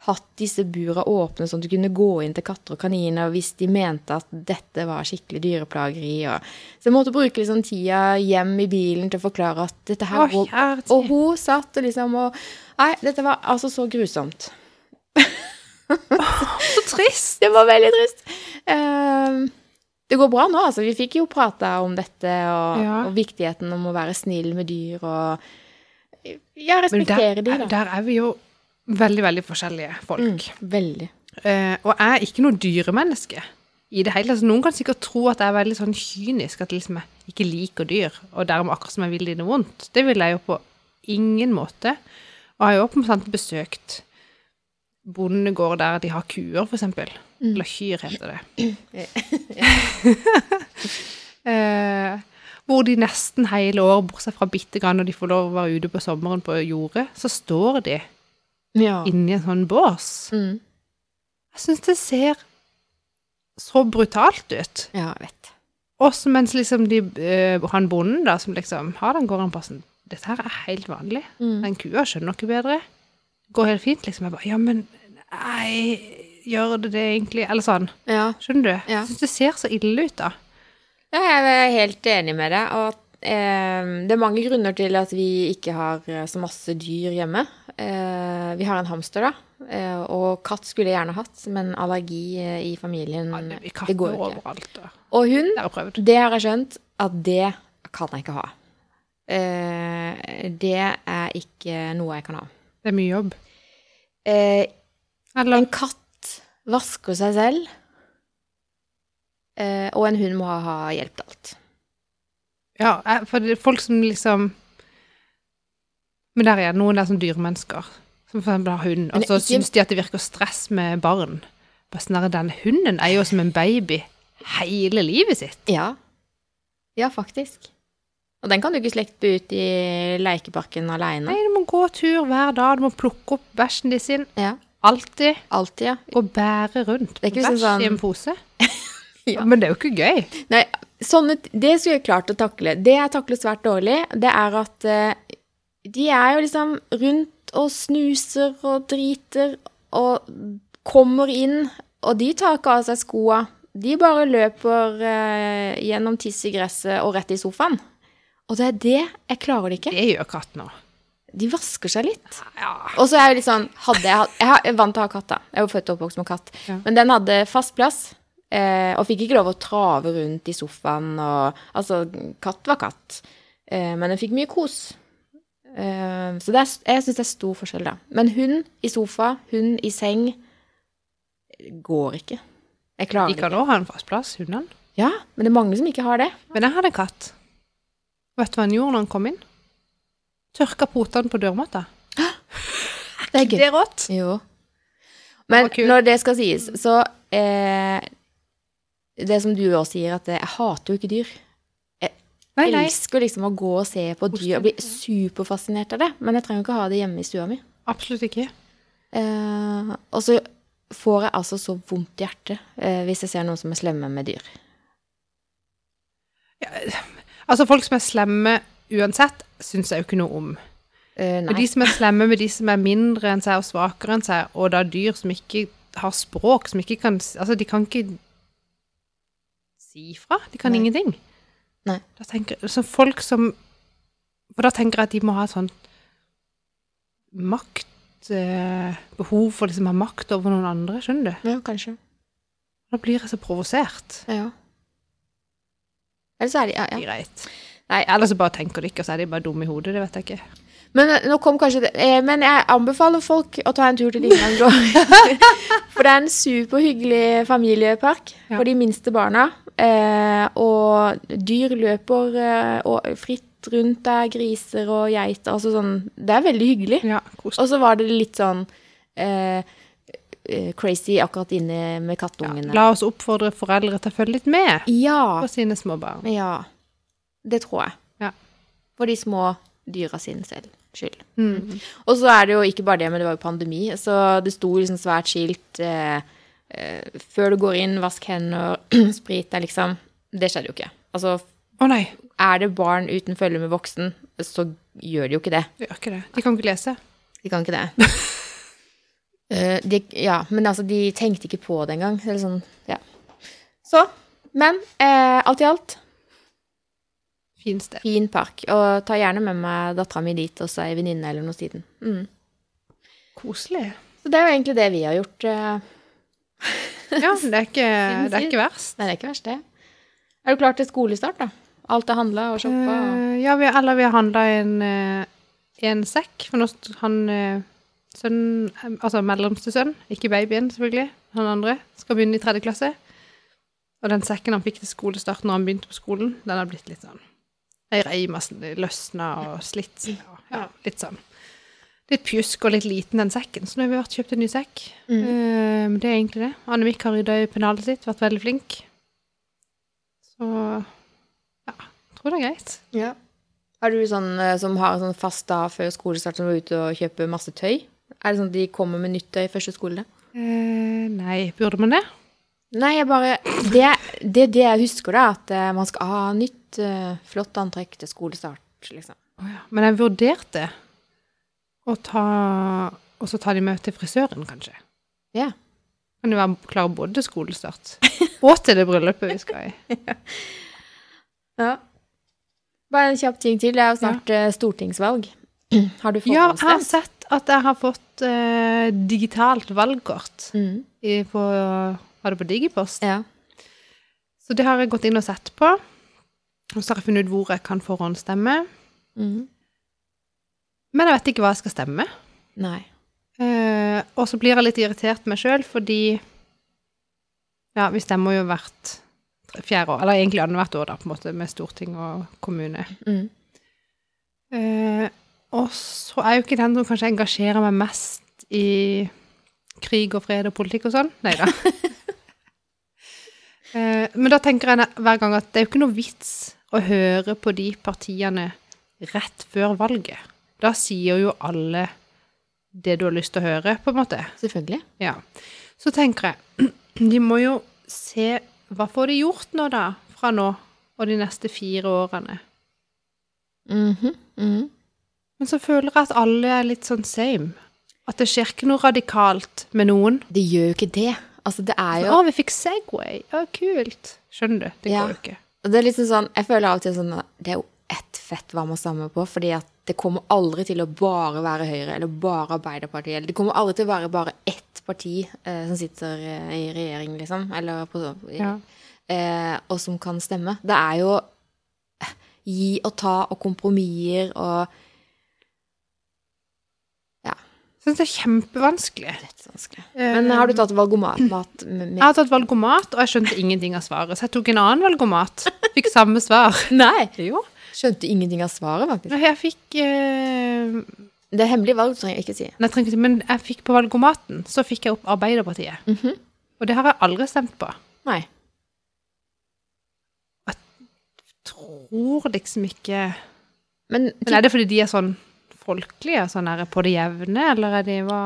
[SPEAKER 2] hatt disse bura åpne sånn at du kunne gå inn til katter og kaniner hvis de mente at dette var skikkelig dyreplageri. Og... Så jeg måtte bruke liksom tida hjem i bilen til å forklare at
[SPEAKER 1] Å,
[SPEAKER 2] dette her går
[SPEAKER 1] kjære tid.
[SPEAKER 2] og hun satt og liksom og Nei, dette var altså så grusomt.
[SPEAKER 1] Så trist!
[SPEAKER 2] Det var veldig trist. Ehm, det går bra nå, altså. Vi fikk jo prata om dette og,
[SPEAKER 1] Ja.
[SPEAKER 2] og viktigheten om å være snill med dyr og ja,
[SPEAKER 1] Men der,
[SPEAKER 2] respektere de, da. Mm,
[SPEAKER 1] der er vi jo veldig, veldig forskjellige folk.
[SPEAKER 2] Veldig.
[SPEAKER 1] Eh, og jeg er ikke noe dyremenneske i det hele tatt. Så Noen kan sikkert tro at jeg er veldig sånn kynisk, at liksom jeg ikke liker dyr, og dermed akkurat som jeg vil de noe vondt. Det vil jeg jo på ingen måte. Og jeg har jo oppmerksomt besøkt bondegård der de har kuer, for eksempel. Eller kyr, heter det. eh, hvor de nesten hele året, bortsett fra bitte grann når de får lov å være ute på sommeren på jordet, så står de
[SPEAKER 2] Ja.
[SPEAKER 1] inni en sånn bås.
[SPEAKER 2] Mm.
[SPEAKER 1] Jeg syns det ser så brutalt ut.
[SPEAKER 2] ja, jeg vet.
[SPEAKER 1] Også mens liksom de, eh, han bonden da, som liksom har den gården på sånn, Dette her er helt vanlig.
[SPEAKER 2] Mm.
[SPEAKER 1] Den kua skjønner noe bedre. Går helt fint, liksom. Jeg bare Ja, men nei, gjør det det egentlig? Eller sånn.
[SPEAKER 2] Ja.
[SPEAKER 1] Skjønner du?
[SPEAKER 2] Ja.
[SPEAKER 1] Jeg syns det ser så ille ut, da.
[SPEAKER 2] Ja, jeg er helt enig med deg. Og at, eh, det er mange grunner til at vi ikke har eh, så masse dyr hjemme. Eh, vi har en hamster, da. Eh, og katt skulle jeg gjerne hatt, men allergi eh, i familien
[SPEAKER 1] Ja, det, vi
[SPEAKER 2] Det
[SPEAKER 1] katter
[SPEAKER 2] går jo ikke.
[SPEAKER 1] overalt. Da.
[SPEAKER 2] Og hund,
[SPEAKER 1] Det har jeg prøvd.
[SPEAKER 2] det har jeg skjønt, at det kan jeg ikke ha. Eh, det er ikke noe jeg kan ha.
[SPEAKER 1] Det er mye jobb.
[SPEAKER 2] Eh,
[SPEAKER 1] Eller
[SPEAKER 2] En katt vasker seg selv. Eh, og en hund må ha ha hjelp til alt.
[SPEAKER 1] Ja, jeg- for det er folk som liksom Men der er noen der som dyremennesker. Som for eksempel har hund, og
[SPEAKER 2] Men
[SPEAKER 1] så
[SPEAKER 2] ikke-
[SPEAKER 1] syns de at det virker stress med barn. Bare sånn der, Den hunden er jo som en baby hele livet sitt.
[SPEAKER 2] Ja. Ja, faktisk. Og den kan du ikke slekte ut i lekeparken
[SPEAKER 1] Nei,
[SPEAKER 2] aleine.
[SPEAKER 1] du må gå tur hver dag, du må plukke opp bæsjen din sin.
[SPEAKER 2] Ja,
[SPEAKER 1] Alltid.
[SPEAKER 2] alltid, ja.
[SPEAKER 1] Gå og bære rundt
[SPEAKER 2] Det er ikke
[SPEAKER 1] bæsj
[SPEAKER 2] sånn-
[SPEAKER 1] i en pose.
[SPEAKER 2] Ja.
[SPEAKER 1] Men det er jo ikke gøy.
[SPEAKER 2] Nei, sånne, det skulle jeg klart å takle. Det jeg takler svært dårlig, det er at eh, de er jo liksom rundt og snuser og driter og kommer inn, og de tar ikke av seg skoa. De bare løper eh, gjennom tiss i gresset og rett i sofaen. Og det er det jeg klarer det ikke.
[SPEAKER 1] Det gjør katten òg.
[SPEAKER 2] De vasker seg litt.
[SPEAKER 1] Ja.
[SPEAKER 2] Og så er jeg jo litt sånn hadde jeg, hatt- jeg har- jeg er vant til å ha katt, da. Jeg er jo født og oppvokst med katt.
[SPEAKER 1] Ja.
[SPEAKER 2] Men den hadde fast plass, eh, og fikk ikke lov å trave rundt i sofaen. Og, altså, katt var katt. Eh, men den fikk mye kos. Eh, så det er, s- jeg syns det er stor forskjell, da. Men hund i sofa, hund i seng går ikke. Jeg klarer
[SPEAKER 1] De
[SPEAKER 2] det ikke.
[SPEAKER 1] kan òg ha en fast plass, hundene.
[SPEAKER 2] Ja, men det er mange som ikke har det.
[SPEAKER 1] Men jeg hadde en katt. Vet du hva han gjorde når han kom inn? Tørka potene på dørmatta.
[SPEAKER 2] Det er gøy.
[SPEAKER 1] er rått.
[SPEAKER 2] Jo. Men
[SPEAKER 1] var kult.
[SPEAKER 2] når det skal sies, så eh, Det som du også sier, at eh, jeg hater jo ikke dyr.
[SPEAKER 1] Nei,
[SPEAKER 2] Jeg
[SPEAKER 1] nei.
[SPEAKER 2] elsker liksom å gå og se på dyr og bli superfascinert av det. Men jeg trenger jo ikke ha det hjemme i stua mi.
[SPEAKER 1] Absolutt ikke.
[SPEAKER 2] Eh, og så får jeg altså så vondt i hjertet eh, hvis jeg ser noen som er slemme med dyr.
[SPEAKER 1] Altså, folk som er slemme uansett, syns jeg jo ikke noe om.
[SPEAKER 2] Eh,
[SPEAKER 1] Og
[SPEAKER 2] nei.
[SPEAKER 1] de som er slemme med de som er mindre enn seg og svakere enn seg, og da dyr som ikke har språk, som ikke kan s- Altså, de kan ikke si fra. De kan
[SPEAKER 2] Nei.
[SPEAKER 1] ingenting.
[SPEAKER 2] Nei.
[SPEAKER 1] Da tenker, så folk som For da tenker jeg at de må ha et sånt makt eh, Behov for liksom å ha makt over noen andre, skjønner du?
[SPEAKER 2] Ja, kanskje.
[SPEAKER 1] Da blir jeg så provosert.
[SPEAKER 2] Ja. Eller så er de ja, ja.
[SPEAKER 1] Greit.
[SPEAKER 2] Nei,
[SPEAKER 1] Eller så bare tenker de ikke, og så er de bare dumme i hodet. Det vet jeg ikke.
[SPEAKER 2] Men eh, nå kom kanskje det eh, Men jeg anbefaler folk å ta en tur til Lindheim Grove. For det er en superhyggelig familiepark
[SPEAKER 1] Ja.
[SPEAKER 2] for de minste barna. Eh, og dyr løper eh, og fritt rundt der. Griser og geiter. Altså sånn Det er veldig hyggelig.
[SPEAKER 1] Ja, kos
[SPEAKER 2] Og så var det litt sånn eh, eh, crazy akkurat inne med kattungene.
[SPEAKER 1] La oss oppfordre foreldre til å følge litt med
[SPEAKER 2] Ja.
[SPEAKER 1] på sine små barn.
[SPEAKER 2] Ja. Det tror jeg.
[SPEAKER 1] Ja.
[SPEAKER 2] For de små dyra sin selv skyld.
[SPEAKER 1] Mm.
[SPEAKER 2] Og så er det jo ikke bare det, men det var jo pandemi, så det sto liksom svært skilt eh, eh, Før du går inn, vask hender, sprit deg, liksom. Det skjedde jo ikke. Altså,
[SPEAKER 1] Å nei,
[SPEAKER 2] er det barn uten følge med voksen, så gjør de jo ikke det.
[SPEAKER 1] de gjør ikke det. De kan ikke lese.
[SPEAKER 2] De kan ikke det. Eh, de, ja, men altså, de tenkte ikke på det engang. Eller sånn, ja. Så. Men eh, alt i alt,
[SPEAKER 1] Fint sted.
[SPEAKER 2] fin park. Og ta gjerne med meg dattera mi dit, og så ei venninne eller noe siden. Mm.
[SPEAKER 1] Koselig.
[SPEAKER 2] Så det er jo egentlig det vi har gjort. Eh,
[SPEAKER 1] Ja, men det er ikke, det er ikke verst.
[SPEAKER 2] Nei, det er ikke verst, det. Er du klar til skolestart, da? Alt er handla og shoppa. og-
[SPEAKER 1] Eh, ja, vi, eller vi har handla en, eh, en sekk. For nå st- han eh, sønnen eh, Altså mellomste sønn, ikke babyen, selvfølgelig, han andre, skal begynne i tredje klasse. Og den sekken han fikk til skolestart når han begynte på skolen, den har blitt litt sånn Ei reim har sn- løsna sånn, og slitt. Og, ja, litt sånn. Litt pjusk og litt liten, den sekken. Så nå har vi vært og kjøpt en ny sekk.
[SPEAKER 2] Mm.
[SPEAKER 1] Eh, men det er egentlig det. Annemik har rydda i pennalet sitt, vært veldig flink. Så ja, tror det er greit.
[SPEAKER 2] Ja. Er du sånn eh, som har sånn fast dag før skolestart, som er ute og kjøper masse tøy? Er det sånn at de kommer med nytt tøy første skoledag?
[SPEAKER 1] Eh, nei, burde man det?
[SPEAKER 2] Nei, jeg bare Det, det, er det jeg husker, da, at eh, man skal ha nytt, eh, flott antrekk til skolestart, liksom.
[SPEAKER 1] Men jeg vurderte å ta Og så ta de med til frisøren, kanskje.
[SPEAKER 2] Ja.
[SPEAKER 1] Kan jo være klare både til skolestart og til det bryllupet vi skal i.
[SPEAKER 2] Ja. Bare en kjapp ting til. Det er jo snart eh, stortingsvalg. Har du
[SPEAKER 1] Ja, jeg har
[SPEAKER 2] forhåndsstemt?
[SPEAKER 1] sett at jeg har fått eh, digitalt valgkort
[SPEAKER 2] Mm.
[SPEAKER 1] i, på, var det på Digipost.
[SPEAKER 2] Ja.
[SPEAKER 1] Så det har jeg gått inn og sett på. Og så har jeg funnet ut hvor jeg kan forhåndsstemme.
[SPEAKER 2] Mm.
[SPEAKER 1] Men jeg vet ikke hva jeg skal stemme.
[SPEAKER 2] Nei.
[SPEAKER 1] Eh, og så blir jeg litt irritert meg sjøl, fordi Ja, vi stemmer jo hvert tre- fjerde år, eller egentlig annethvert år, da, på en måte, med storting og kommune.
[SPEAKER 2] Mm.
[SPEAKER 1] Eh, og så er jeg jo ikke den som kanskje engasjerer meg mest i krig og fred og politikk og sånn. Nei da. eh, men da tenker jeg ne- hver gang at det er jo ikke noe vits å høre på de partiene rett før valget. Da sier jo alle det du har lyst til å høre, på en måte.
[SPEAKER 2] Selvfølgelig.
[SPEAKER 1] Ja. Så tenker jeg, de må jo se hva får de gjort nå da, fra nå og de neste fire årene.
[SPEAKER 2] Mhm. Mhm.
[SPEAKER 1] Men så føler jeg at alle er litt sånn same. At det skjer ikke noe radikalt med noen.
[SPEAKER 2] Det gjør jo ikke det. Altså, det er
[SPEAKER 1] Å,
[SPEAKER 2] jo
[SPEAKER 1] vi fikk Segway. Å, kult. Skjønner du? Det
[SPEAKER 2] Ja.
[SPEAKER 1] går jo ikke.
[SPEAKER 2] Og Det er liksom sånn, jeg føler av og til sånn at det er jo ett fett hva man stemmer på, fordi at det kommer aldri til å bare være Høyre eller bare Arbeiderpartiet. eller Det kommer aldri til å være bare ett parti eh, som sitter eh, i regjering, liksom, eller på, i,
[SPEAKER 1] Ja.
[SPEAKER 2] eh, og som kan stemme. Det er jo eh, gi og ta og kompromisser og Ja,
[SPEAKER 1] Jeg synes det er kjempevanskelig.
[SPEAKER 2] dødsvanskelig.
[SPEAKER 1] Eh,
[SPEAKER 2] Men har du tatt valgomat mat med,
[SPEAKER 1] Jeg har tatt valgomat, og jeg skjønte ingenting av svaret. Så jeg tok en annen valgomat. Fikk samme svar.
[SPEAKER 2] Nei!
[SPEAKER 1] Jo.
[SPEAKER 2] Skjønte ingenting av svaret, faktisk.
[SPEAKER 1] Nei, Jeg fikk eh,
[SPEAKER 2] Det er hemmelig valg, trenger jeg ikke si.
[SPEAKER 1] Nei, jeg trenger ikke, men jeg fikk på valgomaten, så fikk jeg opp Arbeiderpartiet. Og det har jeg aldri stemt på.
[SPEAKER 2] Nei.
[SPEAKER 1] Tror liksom ikke
[SPEAKER 2] Men
[SPEAKER 1] Men er det fordi de er sånn folkelige, sånn der på det jevne, eller er de hva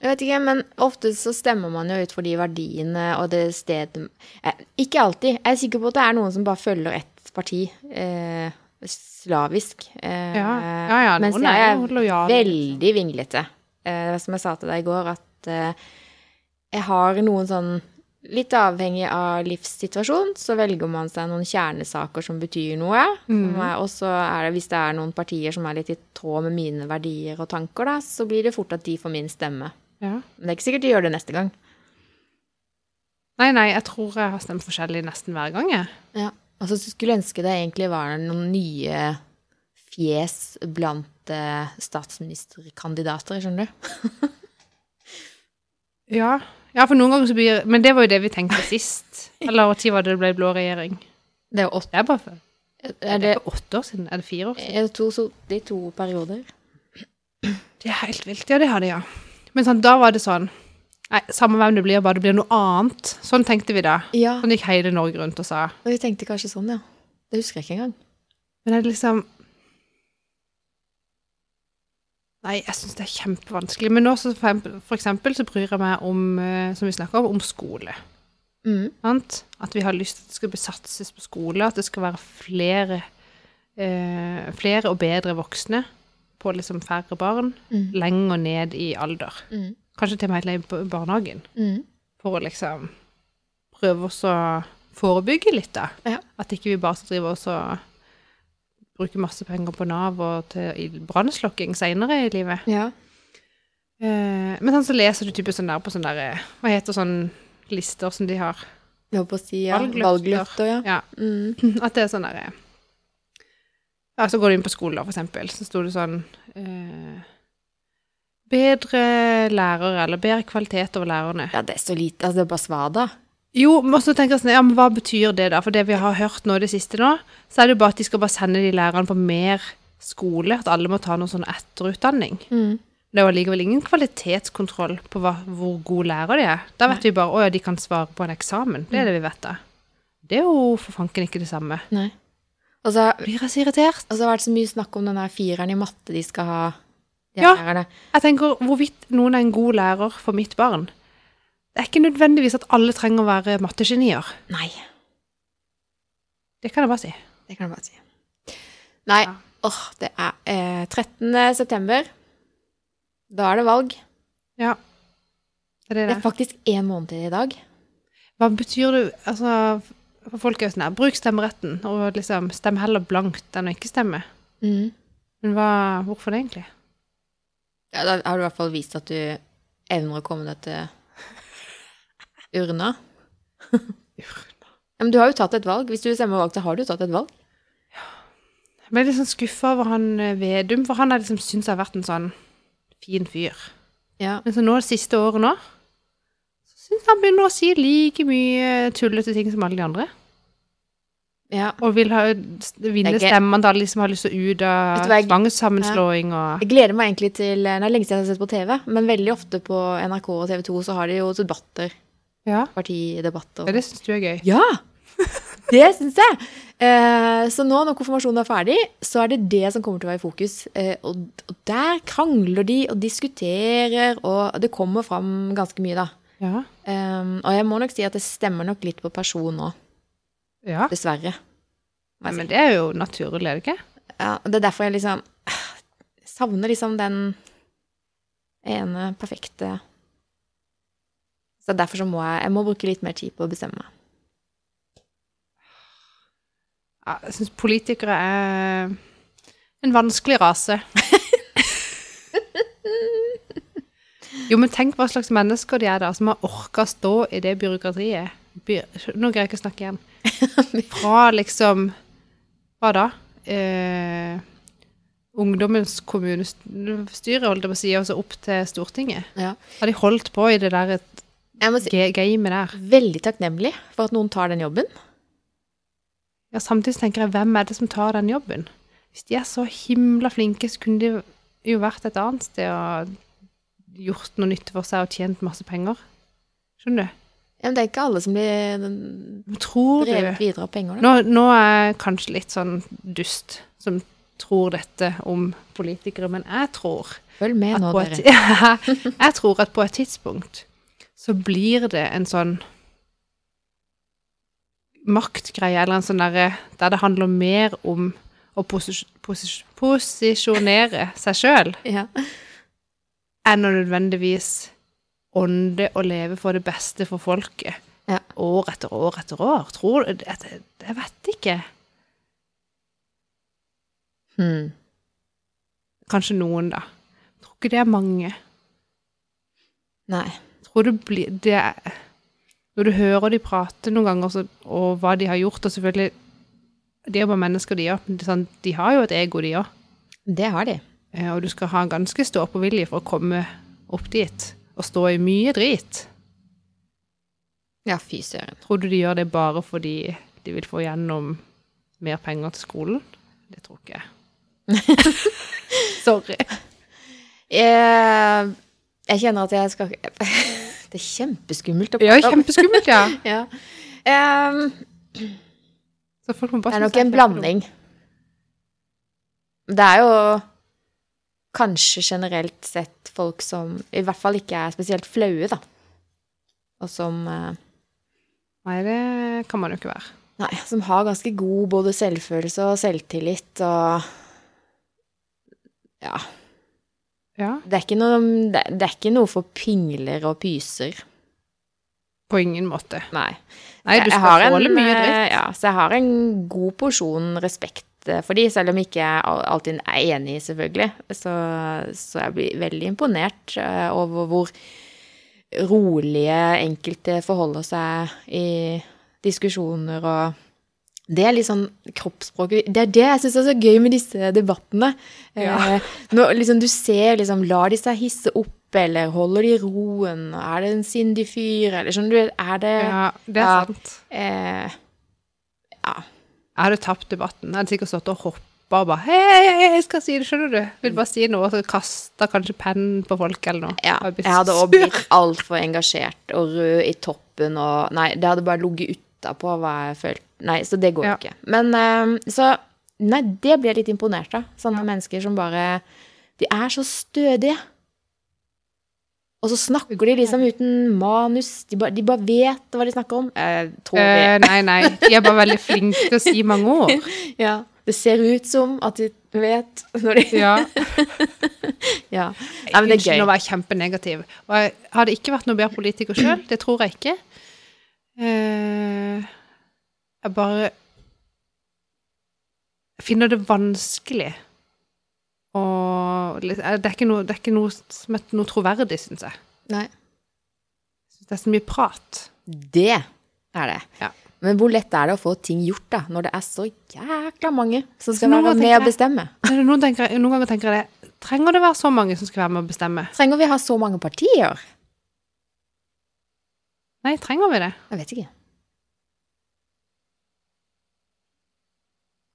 [SPEAKER 2] Jeg vet ikke, men ofte så stemmer man jo ut for de verdiene og det stedet eh, Ikke alltid. Jeg er sikker på at det er noen som bare følger ett parti eh, slavisk. Eh,
[SPEAKER 1] Ja, ja, ja,
[SPEAKER 2] mens
[SPEAKER 1] noen
[SPEAKER 2] jeg
[SPEAKER 1] er
[SPEAKER 2] er,
[SPEAKER 1] jo lojale,
[SPEAKER 2] veldig vinglete. Eh, som jeg sa til deg i går, at eh, jeg har noen sånn Litt avhengig av livssituasjon, så velger man seg noen kjernesaker som betyr noe.
[SPEAKER 1] Mm.
[SPEAKER 2] Som er- Og så er det, hvis det er noen partier som er litt i tråd med mine verdier og tanker, da, så blir det fort at de får min stemme.
[SPEAKER 1] ja.
[SPEAKER 2] Men det er ikke sikkert de gjør det neste gang.
[SPEAKER 1] Nei, nei, jeg tror jeg har stemt forskjellig nesten hver gang, jeg.
[SPEAKER 2] Altså, du skulle ønske det egentlig var noen nye fjes blant eh, statsministerkandidater, skjønner du?
[SPEAKER 1] Ja. ja, for noen ganger så blir Men det var jo det vi tenkte sist. Eller når var det det ble blå regjering?
[SPEAKER 2] Det er jo åtte.
[SPEAKER 1] Det er bare for,
[SPEAKER 2] Er
[SPEAKER 1] er
[SPEAKER 2] det,
[SPEAKER 1] det ikke åtte år siden? Er det fire år siden?
[SPEAKER 2] er det to, so- de to perioder?
[SPEAKER 1] Det er helt vilt. Ja, det har de, ja. Men sånn, da var det sånn Nei, samme hvem det blir, bare det blir noe annet. Sånn tenkte vi da.
[SPEAKER 2] Ja,
[SPEAKER 1] Sånn gikk hele Norge rundt og sa.
[SPEAKER 2] og vi tenkte kanskje sånn, ja. Det husker jeg ikke engang.
[SPEAKER 1] Men er det liksom Nei, jeg syns det er kjempevanskelig. Men nå så for em- for eksempel så bryr jeg meg om, eh, som vi snakker om, om skole.
[SPEAKER 2] Mm.
[SPEAKER 1] Sant? At vi har lyst til at det skal bli satses på skole, at det skal være flere, eh, flere og bedre voksne på liksom færre barn,
[SPEAKER 2] Mm.
[SPEAKER 1] lenger ned i alder.
[SPEAKER 2] Mm.
[SPEAKER 1] Kanskje til og med helt ned i bar- barnehagen.
[SPEAKER 2] Mm.
[SPEAKER 1] for å liksom prøve også å forebygge litt, da.
[SPEAKER 2] Ja.
[SPEAKER 1] At ikke vi bare skal drive oss og bruke masse penger på Nav og til i brannslokking seinere i livet.
[SPEAKER 2] Ja.
[SPEAKER 1] Eh, men sånn så leser du typisk sånn der på sånne der, eh, hva heter sånne lister som de har.
[SPEAKER 2] Jeg holdt på å si ja.
[SPEAKER 1] Valgløfter.
[SPEAKER 2] valgløfter. Ja.
[SPEAKER 1] Ja,
[SPEAKER 2] Mm.
[SPEAKER 1] At det er sånn derre Ja, så går du inn på skolen, da, for eksempel, så sto det sånn eh, Bedre lærere, eller bedre kvalitet over lærerne.
[SPEAKER 2] ja, det er så lite. Altså, det er bare svar da.
[SPEAKER 1] Jo, men også tenker jeg sånn, ja, men hva betyr det da? For det vi har hørt nå i det siste nå, så er det jo bare at de skal bare sende de lærerne på mer skole, at alle må ta noen sånn etterutdanning.
[SPEAKER 2] Mm.
[SPEAKER 1] Det er jo allikevel ingen kvalitetskontroll på hva, hvor god lærer de er. Da vet vi bare, åja, de kan svare på en eksamen. Det er det vi vet da. Det er jo for fanken ikke det samme.
[SPEAKER 2] Nei. Og så
[SPEAKER 1] Blir jeg så irritert?
[SPEAKER 2] Og så har det vært så mye snakk om den der fireren i matte de skal ha. De
[SPEAKER 1] Ja.
[SPEAKER 2] lærerne.
[SPEAKER 1] Jeg tenker, hvorvidt noen er en god lærer for mitt barn, det er ikke nødvendigvis at alle trenger å være mattegenier.
[SPEAKER 2] Nei.
[SPEAKER 1] Det kan jeg bare si.
[SPEAKER 2] Det kan du bare si. Nei,
[SPEAKER 1] Ja.
[SPEAKER 2] åh, det er eh, 13. september. Da er det valg.
[SPEAKER 1] Ja. Det er det
[SPEAKER 2] Det er
[SPEAKER 1] der.
[SPEAKER 2] faktisk én måned til i dag.
[SPEAKER 1] Hva betyr det altså, for folk er jo sånn her, bruk stemmeretten, og liksom stem heller blankt enn å ikke stemme.
[SPEAKER 2] Mm.
[SPEAKER 1] Men hva, hvorfor det egentlig?
[SPEAKER 2] Ja, da har du i hvert fall vist at du evner å komme deg til urna. Ja, men du har jo tatt et valg. Hvis du stemmer valg, så har du jo tatt et valg.
[SPEAKER 1] Jeg ble litt sånn skuffa over han eh, Vedum, for han har liksom syntes jeg har vært en sånn fin fyr.
[SPEAKER 2] Ja.
[SPEAKER 1] Men så nå det siste året nå, så syns jeg han begynner å si like mye tullete ting som alle de andre.
[SPEAKER 2] ja.
[SPEAKER 1] Og vil ha, vinne
[SPEAKER 2] Det er ikke-
[SPEAKER 1] stemmene til alle de som har lyst til å ut
[SPEAKER 2] Vet
[SPEAKER 1] av
[SPEAKER 2] du hva jeg-
[SPEAKER 1] tvangssammenslåing og
[SPEAKER 2] Jeg gleder meg egentlig til Det er lenge siden jeg har sett på TV, men veldig ofte på NRK og TV 2 så har de jo debatter.
[SPEAKER 1] Ja,
[SPEAKER 2] Partidebatter.
[SPEAKER 1] ja det syns du er gøy.
[SPEAKER 2] Ja! Det syns jeg. Eh, så nå når konfirmasjonen er ferdig, så er det det som kommer til å være i fokus. Eh, og, og der krangler de og diskuterer, og det kommer fram ganske mye, da.
[SPEAKER 1] Ja.
[SPEAKER 2] Eh, og jeg må nok si at det stemmer nok litt på person nå,
[SPEAKER 1] ja.
[SPEAKER 2] dessverre.
[SPEAKER 1] Nei,
[SPEAKER 2] Må jeg si.
[SPEAKER 1] men det er jo naturlig, er det ikke?
[SPEAKER 2] Ja, og det er derfor jeg liksom eh, savner liksom den ene perfekte Så derfor så må jeg, jeg må bruke litt mer tid på å bestemme meg.
[SPEAKER 1] Ja, jeg syns politikere er en vanskelig rase. Jo, men tenk hva slags mennesker de er da, som har orka å stå i det byråkratiet. By Nå greier jeg ikke å snakke igjen. Fra liksom Hva da? Eh, ungdommens kommunestyre, holdt jeg på å si, og så opp til Stortinget.
[SPEAKER 2] Ja.
[SPEAKER 1] Har de holdt på i det der
[SPEAKER 2] Jeg må si
[SPEAKER 1] ga- gamet der?
[SPEAKER 2] veldig takknemlig for at noen tar den jobben.
[SPEAKER 1] Ja, samtidig så tenker jeg, hvem er det som tar den jobben? Hvis de er så himla flinke, så kunne de jo vært et annet sted og gjort noe nytte for seg og tjent masse penger. Skjønner du?
[SPEAKER 2] Ja, men det er ikke alle som blir den-
[SPEAKER 1] Men tror
[SPEAKER 2] drevet
[SPEAKER 1] du
[SPEAKER 2] videre av penger, da.
[SPEAKER 1] nå, nå er jeg kanskje litt sånn dust som tror dette om politikere, men jeg tror
[SPEAKER 2] Følg med
[SPEAKER 1] at
[SPEAKER 2] nå,
[SPEAKER 1] på et,
[SPEAKER 2] dere.
[SPEAKER 1] jeg tror at på et tidspunkt så blir det en sånn maktgreie, eller en sånn derre der det handler mer om å posis, posis, posisjonere seg sjøl
[SPEAKER 2] Ja.
[SPEAKER 1] enn å nødvendigvis ånde og leve for det beste for folket.
[SPEAKER 2] Ja.
[SPEAKER 1] År etter år etter år. Tror du at- Jeg vet ikke.
[SPEAKER 2] Hmm.
[SPEAKER 1] Kanskje noen, da. Jeg tror ikke det er mange.
[SPEAKER 2] Nei.
[SPEAKER 1] tror det blir det er, Når du hører de prate noen ganger, så, og hva de har gjort, og selvfølgelig De er jo bare mennesker, de òg. Sånn, de har jo et ego, de òg.
[SPEAKER 2] Det har de.
[SPEAKER 1] Eh, Og du skal ha ganske stå-på-vilje for å komme opp dit. Og stå i mye drit.
[SPEAKER 2] Ja, fy søren.
[SPEAKER 1] Tror du de gjør det bare fordi de vil få gjennom mer penger til skolen? Det tror ikke jeg. Sorry.
[SPEAKER 2] Jeg, Eh, jeg kjenner at jeg skal Det er kjempeskummelt å
[SPEAKER 1] Ja,
[SPEAKER 2] prate om.
[SPEAKER 1] kjempeskummelt, ja.
[SPEAKER 2] Ja. Ehm,
[SPEAKER 1] Så folk må
[SPEAKER 2] det
[SPEAKER 1] bare
[SPEAKER 2] er
[SPEAKER 1] synes
[SPEAKER 2] nok
[SPEAKER 1] jeg
[SPEAKER 2] en
[SPEAKER 1] kjempedum.
[SPEAKER 2] blanding. Det er jo kanskje generelt sett folk som i hvert fall ikke er spesielt flaue, da. Og som eh,
[SPEAKER 1] Nei, det kan man jo ikke være.
[SPEAKER 2] Nei, som har ganske god både selvfølelse og selvtillit og Ja.
[SPEAKER 1] Ja,
[SPEAKER 2] Det er ikke noe, det, det er ikke noe for pingler og pyser.
[SPEAKER 1] på ingen måte.
[SPEAKER 2] Nei.
[SPEAKER 1] Nei, du
[SPEAKER 2] Jeg
[SPEAKER 1] skal
[SPEAKER 2] har en,
[SPEAKER 1] tåle mye dritt.
[SPEAKER 2] eh, Ja, så jeg har en god porsjon respekt eh, for de, selv om ikke jeg al- alltid er enig, selvfølgelig. Så, så jeg blir veldig imponert eh, over hvor rolige enkelte forholder seg i diskusjoner og det er litt sånn kroppsspråket Det er det jeg syns er så gøy med disse debattene.
[SPEAKER 1] Ja.
[SPEAKER 2] Eh, når liksom du ser liksom, Lar de seg hisse opp, eller holder de roen? Er det en sindig fyr, eller skjønner du? Er det
[SPEAKER 1] Ja, det er
[SPEAKER 2] Ja.
[SPEAKER 1] sant.
[SPEAKER 2] Eh,
[SPEAKER 1] Jeg hadde tapt debatten. Jeg hadde sikkert stått og hoppa og bare Hei, hei, hei, jeg skal si det, skjønner du? Vil bare si noe, og så kasta kanskje pennen på folk eller noe.
[SPEAKER 2] ja.
[SPEAKER 1] Og blitt
[SPEAKER 2] Jeg hadde
[SPEAKER 1] sur.
[SPEAKER 2] også blitt altfor engasjert og rød i toppen og Nei, det hadde bare ligget utapå hva jeg følte Nei, så det går jo
[SPEAKER 1] Ja.
[SPEAKER 2] ikke. Men eh, så Nei, det blir jeg litt imponert av. Sånne mennesker som bare De er så stødige. Og så snakker de liksom uten manus. De bare, de bare vet hva de snakker om. Jeg tror
[SPEAKER 1] Eh,
[SPEAKER 2] vi
[SPEAKER 1] nei, nei. De er bare veldig flinke til å si mange ord.
[SPEAKER 2] Ja. Det ser ut som at de vet når de
[SPEAKER 1] Ja.
[SPEAKER 2] Ja. Nei, men det
[SPEAKER 1] Unnskyld,
[SPEAKER 2] er
[SPEAKER 1] Nå
[SPEAKER 2] gøy.
[SPEAKER 1] var jeg kjempenegativ. Og jeg hadde ikke vært noe bedre politiker sjøl, det tror jeg ikke. Eh, jeg bare jeg finner det vanskelig å eh, Det er ikke noe, det er ikke noe, som er noe troverdig, syns jeg.
[SPEAKER 2] Nei.
[SPEAKER 1] Jeg synes Det er så mye prat.
[SPEAKER 2] Det er det.
[SPEAKER 1] Ja.
[SPEAKER 2] Men hvor lett er det å få ting gjort, da, når det er så jækla mange som skal
[SPEAKER 1] Nå tenker
[SPEAKER 2] være med
[SPEAKER 1] jeg-
[SPEAKER 2] og bestemme?
[SPEAKER 1] Men Noen, tenker, jeg- noen ganger tenker jeg det Trenger det være så mange som skal være med og bestemme?
[SPEAKER 2] Trenger vi ha så mange partier?
[SPEAKER 1] Nei, trenger vi det?
[SPEAKER 2] Jeg vet ikke.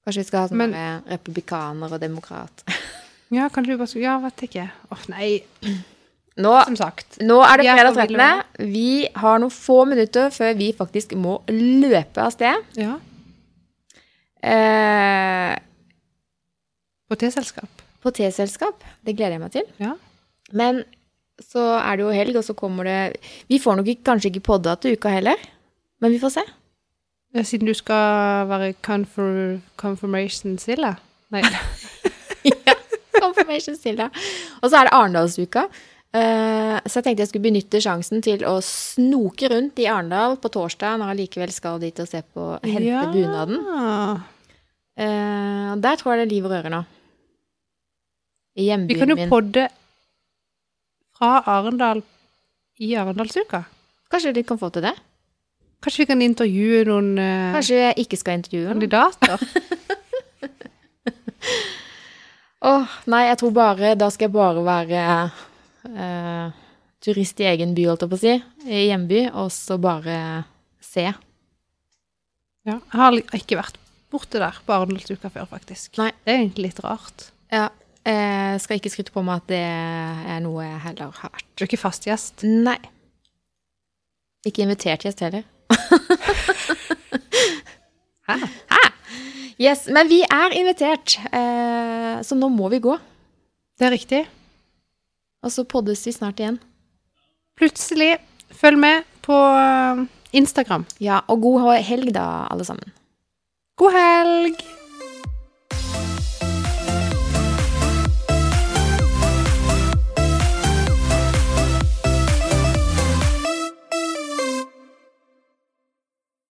[SPEAKER 2] Kanskje vi skal ha sånn
[SPEAKER 1] Men-
[SPEAKER 2] der, eh, republikaner og demokrat.
[SPEAKER 1] Ja, kanskje vi bare skulle Ja, vet ikke. Åh, nei.
[SPEAKER 2] Nå,
[SPEAKER 1] Som sagt.
[SPEAKER 2] nå er det
[SPEAKER 1] Vi er
[SPEAKER 2] fredag
[SPEAKER 1] på ville
[SPEAKER 2] 13. Vi har noen få minutter før vi faktisk må løpe av sted.
[SPEAKER 1] Ja.
[SPEAKER 2] Eh,
[SPEAKER 1] På teselskap.
[SPEAKER 2] på T-selskap. Det gleder jeg meg til.
[SPEAKER 1] Ja.
[SPEAKER 2] Men så er det jo helg, og så kommer det Vi får nok ikke, kanskje ikke podda til uka heller, men vi får se.
[SPEAKER 1] Ja, Eh, Siden du skal være confir confirmation stille? Nei.
[SPEAKER 2] Confirmation still, da. Og så er det Arendalsuka. Eh, så jeg tenkte jeg skulle benytte sjansen til å snoke rundt i Arendal på torsdag, når jeg likevel skal dit og se på hente bunaden. Ah, Eh, og der tror jeg det er liv og røre nå. I
[SPEAKER 1] Vi kan
[SPEAKER 2] hjembyen
[SPEAKER 1] jo
[SPEAKER 2] min.
[SPEAKER 1] podde fra Arendal i Arendalsuka.
[SPEAKER 2] Kanskje de kan få til det?
[SPEAKER 1] Kanskje vi kan intervjue noen eh,
[SPEAKER 2] Kanskje jeg ikke skal intervjue noen?
[SPEAKER 1] kandidater?
[SPEAKER 2] Åh, nei, jeg tror bare Da skal jeg bare være eh, turist i egen by, holdt jeg på å si. I hjemby. Og så bare se.
[SPEAKER 1] Ja. Jeg har li- ikke vært borte der på Arendalsuka før, faktisk.
[SPEAKER 2] Nei.
[SPEAKER 1] Det er egentlig litt rart.
[SPEAKER 2] Ja. Eh, skal ikke skryte på meg at det er noe jeg heller har vært.
[SPEAKER 1] Du er ikke fast gjest.
[SPEAKER 2] Nei. Ikke invitert gjest heller.
[SPEAKER 1] Hæ?
[SPEAKER 2] Yes, Men vi er invitert, eh, så nå må vi gå.
[SPEAKER 1] Det er riktig.
[SPEAKER 2] Og så poddes vi snart igjen.
[SPEAKER 1] Plutselig. Følg med på eh, Instagram.
[SPEAKER 2] Ja, Og god helg, da, alle sammen.
[SPEAKER 1] God helg!